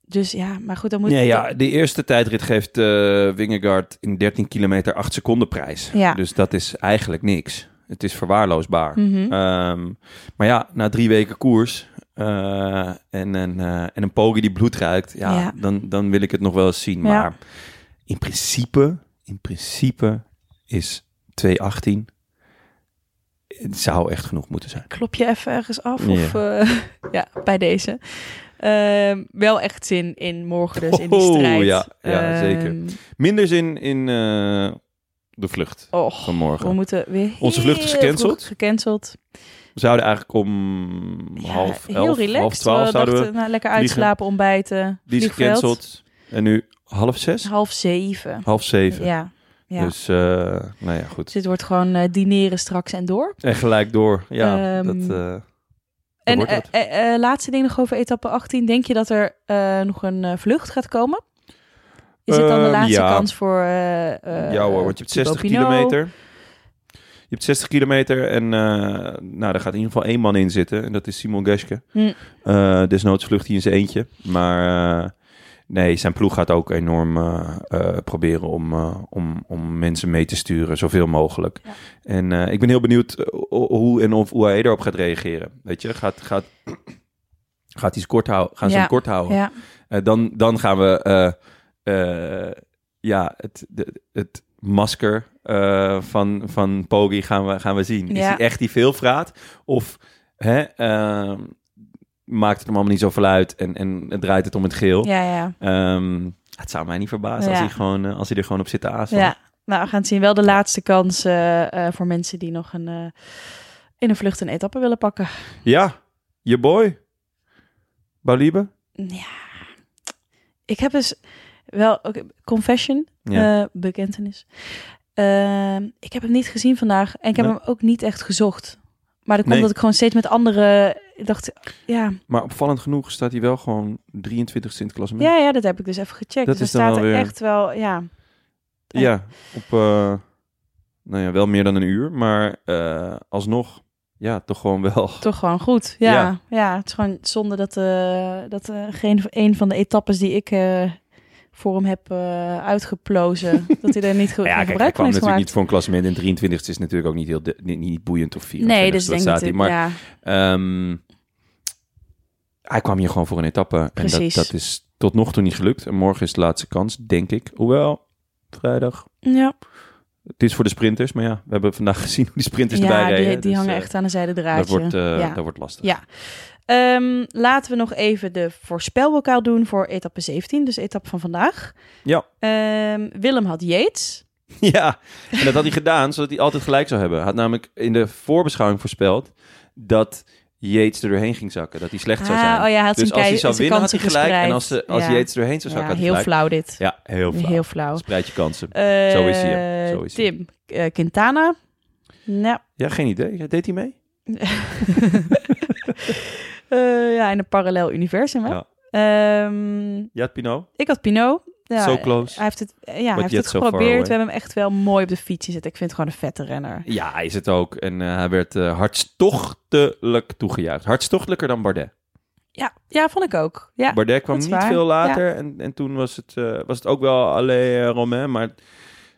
dus ja, maar goed, dan moet...
nee, ja, de eerste tijdrit geeft eh Wingegaard in 13 kilometer 8 seconden prijs.
Ja.
Dus dat is eigenlijk niks. Het is verwaarloosbaar.
Mhm.
Ehm, maar ja, na drie weken koers eh, en, een, eh en een pogie die bloed ruikt, ja,
Ja.
Dan, dan wil ik het nog wel eens
Ja.
zien. Maar in principe, in principe is 218. Het zou echt genoeg moeten zijn.
klop je even ergens af. Of, eh, [LAUGHS] ja, bij deze. Ehm, wel echt zin in morgen dus, in die
Oh,
strijd.
ja, ja,
Ehm,
zeker. Minder zin in eh, de vlucht
Och, we
vanmorgen.
moeten weer
Onze vlucht is
heel
gecanceld.
vroeg gecanceld.
We zouden eigenlijk om
Ja,
half
heel
elf,
relaxed.
half twaalf
we
zouden we.
dachten, nou, lekker
vliegen.
uitslapen, ontbijten,
Die is
vliegveld.
gecanceld. En nu half zes,
Half zeven.
half zeven.
Ja, ja. Dus.
Dus, eh, nou ja, goed.
dit wordt gewoon eh, dineren straks en door.
En gelijk door. Ja,
Ehm,
dat, eh, dat
En
wordt het.
eh, eh, eh, laatste ding nog over etappe 18. Denk je dat er eh, nog een eh, vlucht gaat komen? Is het dan de
Ehm,
laatste
ja.
kans voor... eh, eh,
ja hoor, want je hebt
Thibaut
60
Pinot?
kilometer. Je hebt 60 kilometer en eh, nou, daar gaat in ieder geval één man in zitten. En dat is Simon Geske.
Hm.
Eh, desnoods vlucht hij in zijn eentje. Maar eh, nee, zijn ploeg gaat ook enorm eh, eh, proberen om, eh, om, om mensen mee te sturen. Zoveel mogelijk.
Ja.
En eh, ik ben heel benieuwd eh, ho- hoe en of hoe hij erop gaat reageren. Weet je, gaat... gaat Gaat hij ze kort houden? Gaan ze
Ja.
hem kort houden?
Ja,
Eh, dan, dan gaan we eh, eh, ja, het, de- het masker eh, van, van Poggi gaan we, gaan we zien. Is
Ja.
hij echt die veelvraat? Of hè, ehm, maakt het hem allemaal niet zoveel uit en, en het draait het om het geel?
ja, ja.
Ehm, het zou mij niet verbazen als,
Ja.
hij gewoon, eh, als hij er gewoon op zit te aasen.
Ja, nou we gaan het zien. Wel de laatste kans eh, eh, voor mensen die nog een, eh, in een vlucht een etappe willen pakken.
Ja, je boy. Baliebe.
Ja, ik heb dus wel, oké, confession,
Ja.
eh, bekentenis. Ehm, ik heb hem niet gezien vandaag en ik heb
Nee.
hem ook niet echt gezocht. Maar dat komt
Nee.
dat ik gewoon steeds met andere... Ik dacht, ja,
Maar opvallend genoeg staat hij wel gewoon 23 in het klassement.
ja, ja, dat heb ik dus even gecheckt.
Dat
dus
is
dan
dan
staat
wel
er
weer-
echt wel, ja. Ja.
Ja, op eh, nou ja, wel meer dan een uur, maar eh, alsnog, ja, toch gewoon wel.
Toch gewoon goed. Ja,
Ja.
ja. het is gewoon zonde dat, eh, dat eh, geen een van de etappes die ik eh, voor hem heb eh,
[LAUGHS]
uitgeplozen, dat hij daar niet goed
Nou ja, kijk,
gebruik van
hij kwam
heeft
natuurlijk
gemaakt.
niet voor een klassement en 23 is natuurlijk ook niet heel de- niet, niet boeiend of 4.
nee, dus denk
staat
ik.
hij. Maar
ja.
ehm, hij kwam hier gewoon voor een etappe en dat,
Precies.
dat is tot nog toe niet gelukt. En morgen is de laatste kans, denk ik. Hoewel, vrijdag.
Ja,
Het is voor de sprinters, maar ja, we hebben vandaag [LAUGHS] gezien hoe die sprinters
ja
erbij
die,
reden.
die
dus,
hangen
eh,
echt aan een zijde
Dat
draadje.
wordt, eh,
ja.
dat wordt lastig.
Ja. Ehm, laten we nog even de voorspelbokaal doen voor etappe 17, dus de etappe van vandaag.
Ja.
Ehm, Willem had Yates.
[LAUGHS] Ja, en dat had hij gedaan, zodat hij altijd gelijk zou hebben. Hij had namelijk in de voorbeschouwing voorspeld dat Yates er doorheen ging zakken. Dat hij slecht zou
Ah,
zijn.
oh ja, hij had
dus
zijn
als hij
kei-
zou
zijn
winnen, had hij
kansen
gelijk. En
gespreid.
als, ze, als
Ja.
Yates er doorheen zou zakken,
Ja,
had hij
heel
gelijk.
flauw dit.
Ja, heel flauw.
Heel flauw.
Spreid je kansen.
Eh,
Zo is hij, hè. Zo is hij.
Tim eh, Quintana.
[LAUGHS]
[LAUGHS] Nou,
Ja, geen idee. Ja, deed hij mee?
eh, ja, in een parallel universum. Hè?
Ja.
Ehm,
Ja, Pino.
ik had Pinot. Ja,
So close.
Hij heeft het, ja, hij heeft
yet
het
so far
geprobeerd.
away.
We hebben hem echt wel mooi op de fiets gezet. Ik vind het gewoon een vette renner.
Ja, hij is het ook. En eh, hij werd eh, hartstochtelijk toegejuicht. Hartstochtelijker dan Bardet.
Ja, ja vond ik ook. Ja,
Bardet kwam
dat is
niet
waar.
veel later. En, en toen was het, eh, was het ook wel Allee eh, Romain. Maar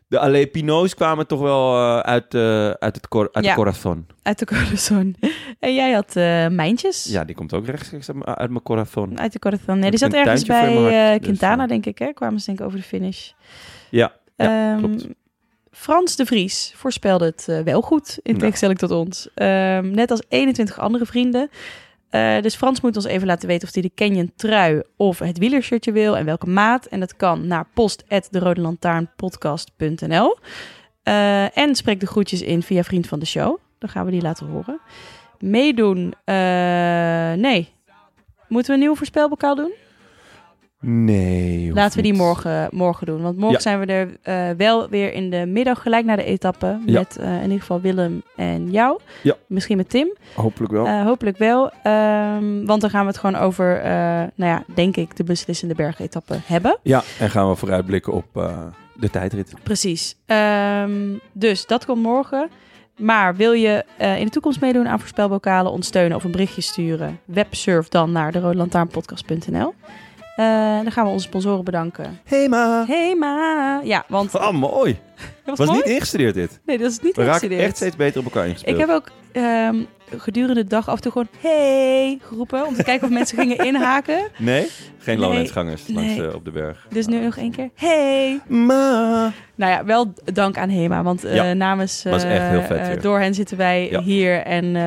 de Allee Pinots kwamen toch wel eh, uit, eh, uit het cor uit
Ja.
de corazon.
uit de Corazon. [LAUGHS] En jij had eh Mijntjes.
Ja, die komt ook rechtstreeks uit, m- uit mijn corazon.
Uit de Corazon. Nee,
Heb
die zat
ik een
ergens
tuintje voor
bij
in mijn hart,
eh,
dus,
Quintana,
eh.
denk ik. Hè? Kwamen ze denk ik over de finish.
Ja, ja,
Ehm,
klopt.
Frans de Vries voorspelde het eh, wel goed, in
Nou.
tegenstelling tot ons. Ehm, net als 21 andere vrienden. Eh, dus Frans moet ons even laten weten of hij de Canyon trui of het wielershirtje wil en welke maat. En dat kan naar post.derodelantaarnpodcast.nl Eh En spreek de groetjes in via Vriend van de Show. Dan gaan we die laten horen. Meedoen? eh, nee. Moeten we een nieuw voorspelbokaal doen?
Nee. hoeft
Laten we die
niet.
morgen, morgen doen. Want morgen
Ja.
zijn we er eh, wel weer in de middag, gelijk na de etappe.
Ja.
Met eh, in ieder geval Willem en jou.
Ja.
Misschien met Tim.
Hopelijk wel.
Eh, hopelijk wel. Ehm, want dan gaan we het gewoon over, eh, nou ja, denk ik, de beslissende bergetappe hebben.
ja, en gaan we vooruitblikken op eh, de tijdrit.
Precies. Ehm, dus dat komt morgen. Maar wil je eh, in de toekomst meedoen aan voorspelbokalen, ons steunen of een berichtje sturen? Websurf dan naar de Eh, dan gaan we onze sponsoren bedanken.
Hema!
Hey ma! Ja, want...
Ah, mooi.
Dat
Was
mooi.
niet ingestudeerd dit.
Nee, dat is niet
We raken
ingestudeerd.
echt steeds beter op elkaar ingespeeld.
Ik heb ook ehm, gedurende de dag af en toe gewoon hey geroepen. Om te kijken of mensen
[LAUGHS]
gingen inhaken.
Nee? Geen
Nee.
lowlandsgangers langs
Nee.
eh, op de berg.
Dus nu nog één keer hey.
Ma.
Nou ja, wel dank aan Hema. Want eh,
Ja,
namens
was
eh,
echt heel vet
eh,
weer.
door hen zitten wij
Ja.
hier. En eh,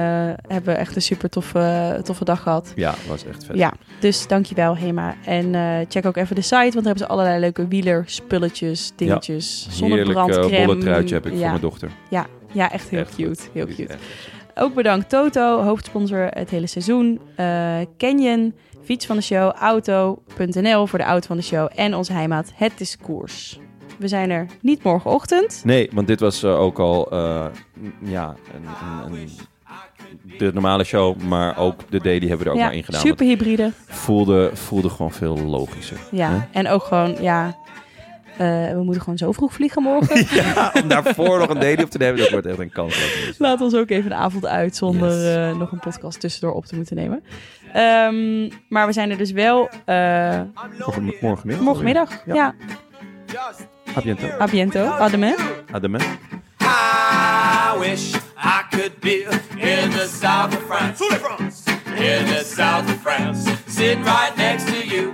hebben echt een super toffe, toffe dag gehad.
Ja, was echt vet.
Ja, dus dankjewel Hema. En eh, check ook even de site, want daar hebben ze allerlei leuke wielerspulletjes, dingetjes,
Heerlijk eh,
zonnebrandcreme.
bolle truitje heb ik voor
ja.
mijn dochter.
ja, echt heel
Echt
cute.
goed.
Heel
Die is
cute.
echt goed.
Ook bedankt Toto, hoofdsponsor het hele seizoen. eh Canyon, fiets van de show, auto.nl voor de auto van de show. En onze heimaat, het is koers. We zijn er niet morgenochtend.
Nee, want dit was eh, ook al eh, n- ja, een, een, een- de normale show, maar ook de daily hebben we er ook maar in gedaan. want
super hybride.
Voelde, voelde gewoon veel logischer.
Ja, en ook gewoon, ja, eh, we moeten gewoon zo vroeg vliegen morgen.
[LAUGHS] Ja, Ah, om daarvoor nog een daily op te nemen, dat wordt echt een kans.
Laat ons ook even de avond uit zonder
Yes.
eh, nog een podcast tussendoor op te moeten nemen. Ehm, maar we zijn er dus wel eh,
Morgenmiddag.
morgenmiddag. Ja,
Ah, Ja.
ja.
A bientôt.
a biento, à demain.
À demain.
I wish I could be in the south of France. In the south of France. Sitting right next to you.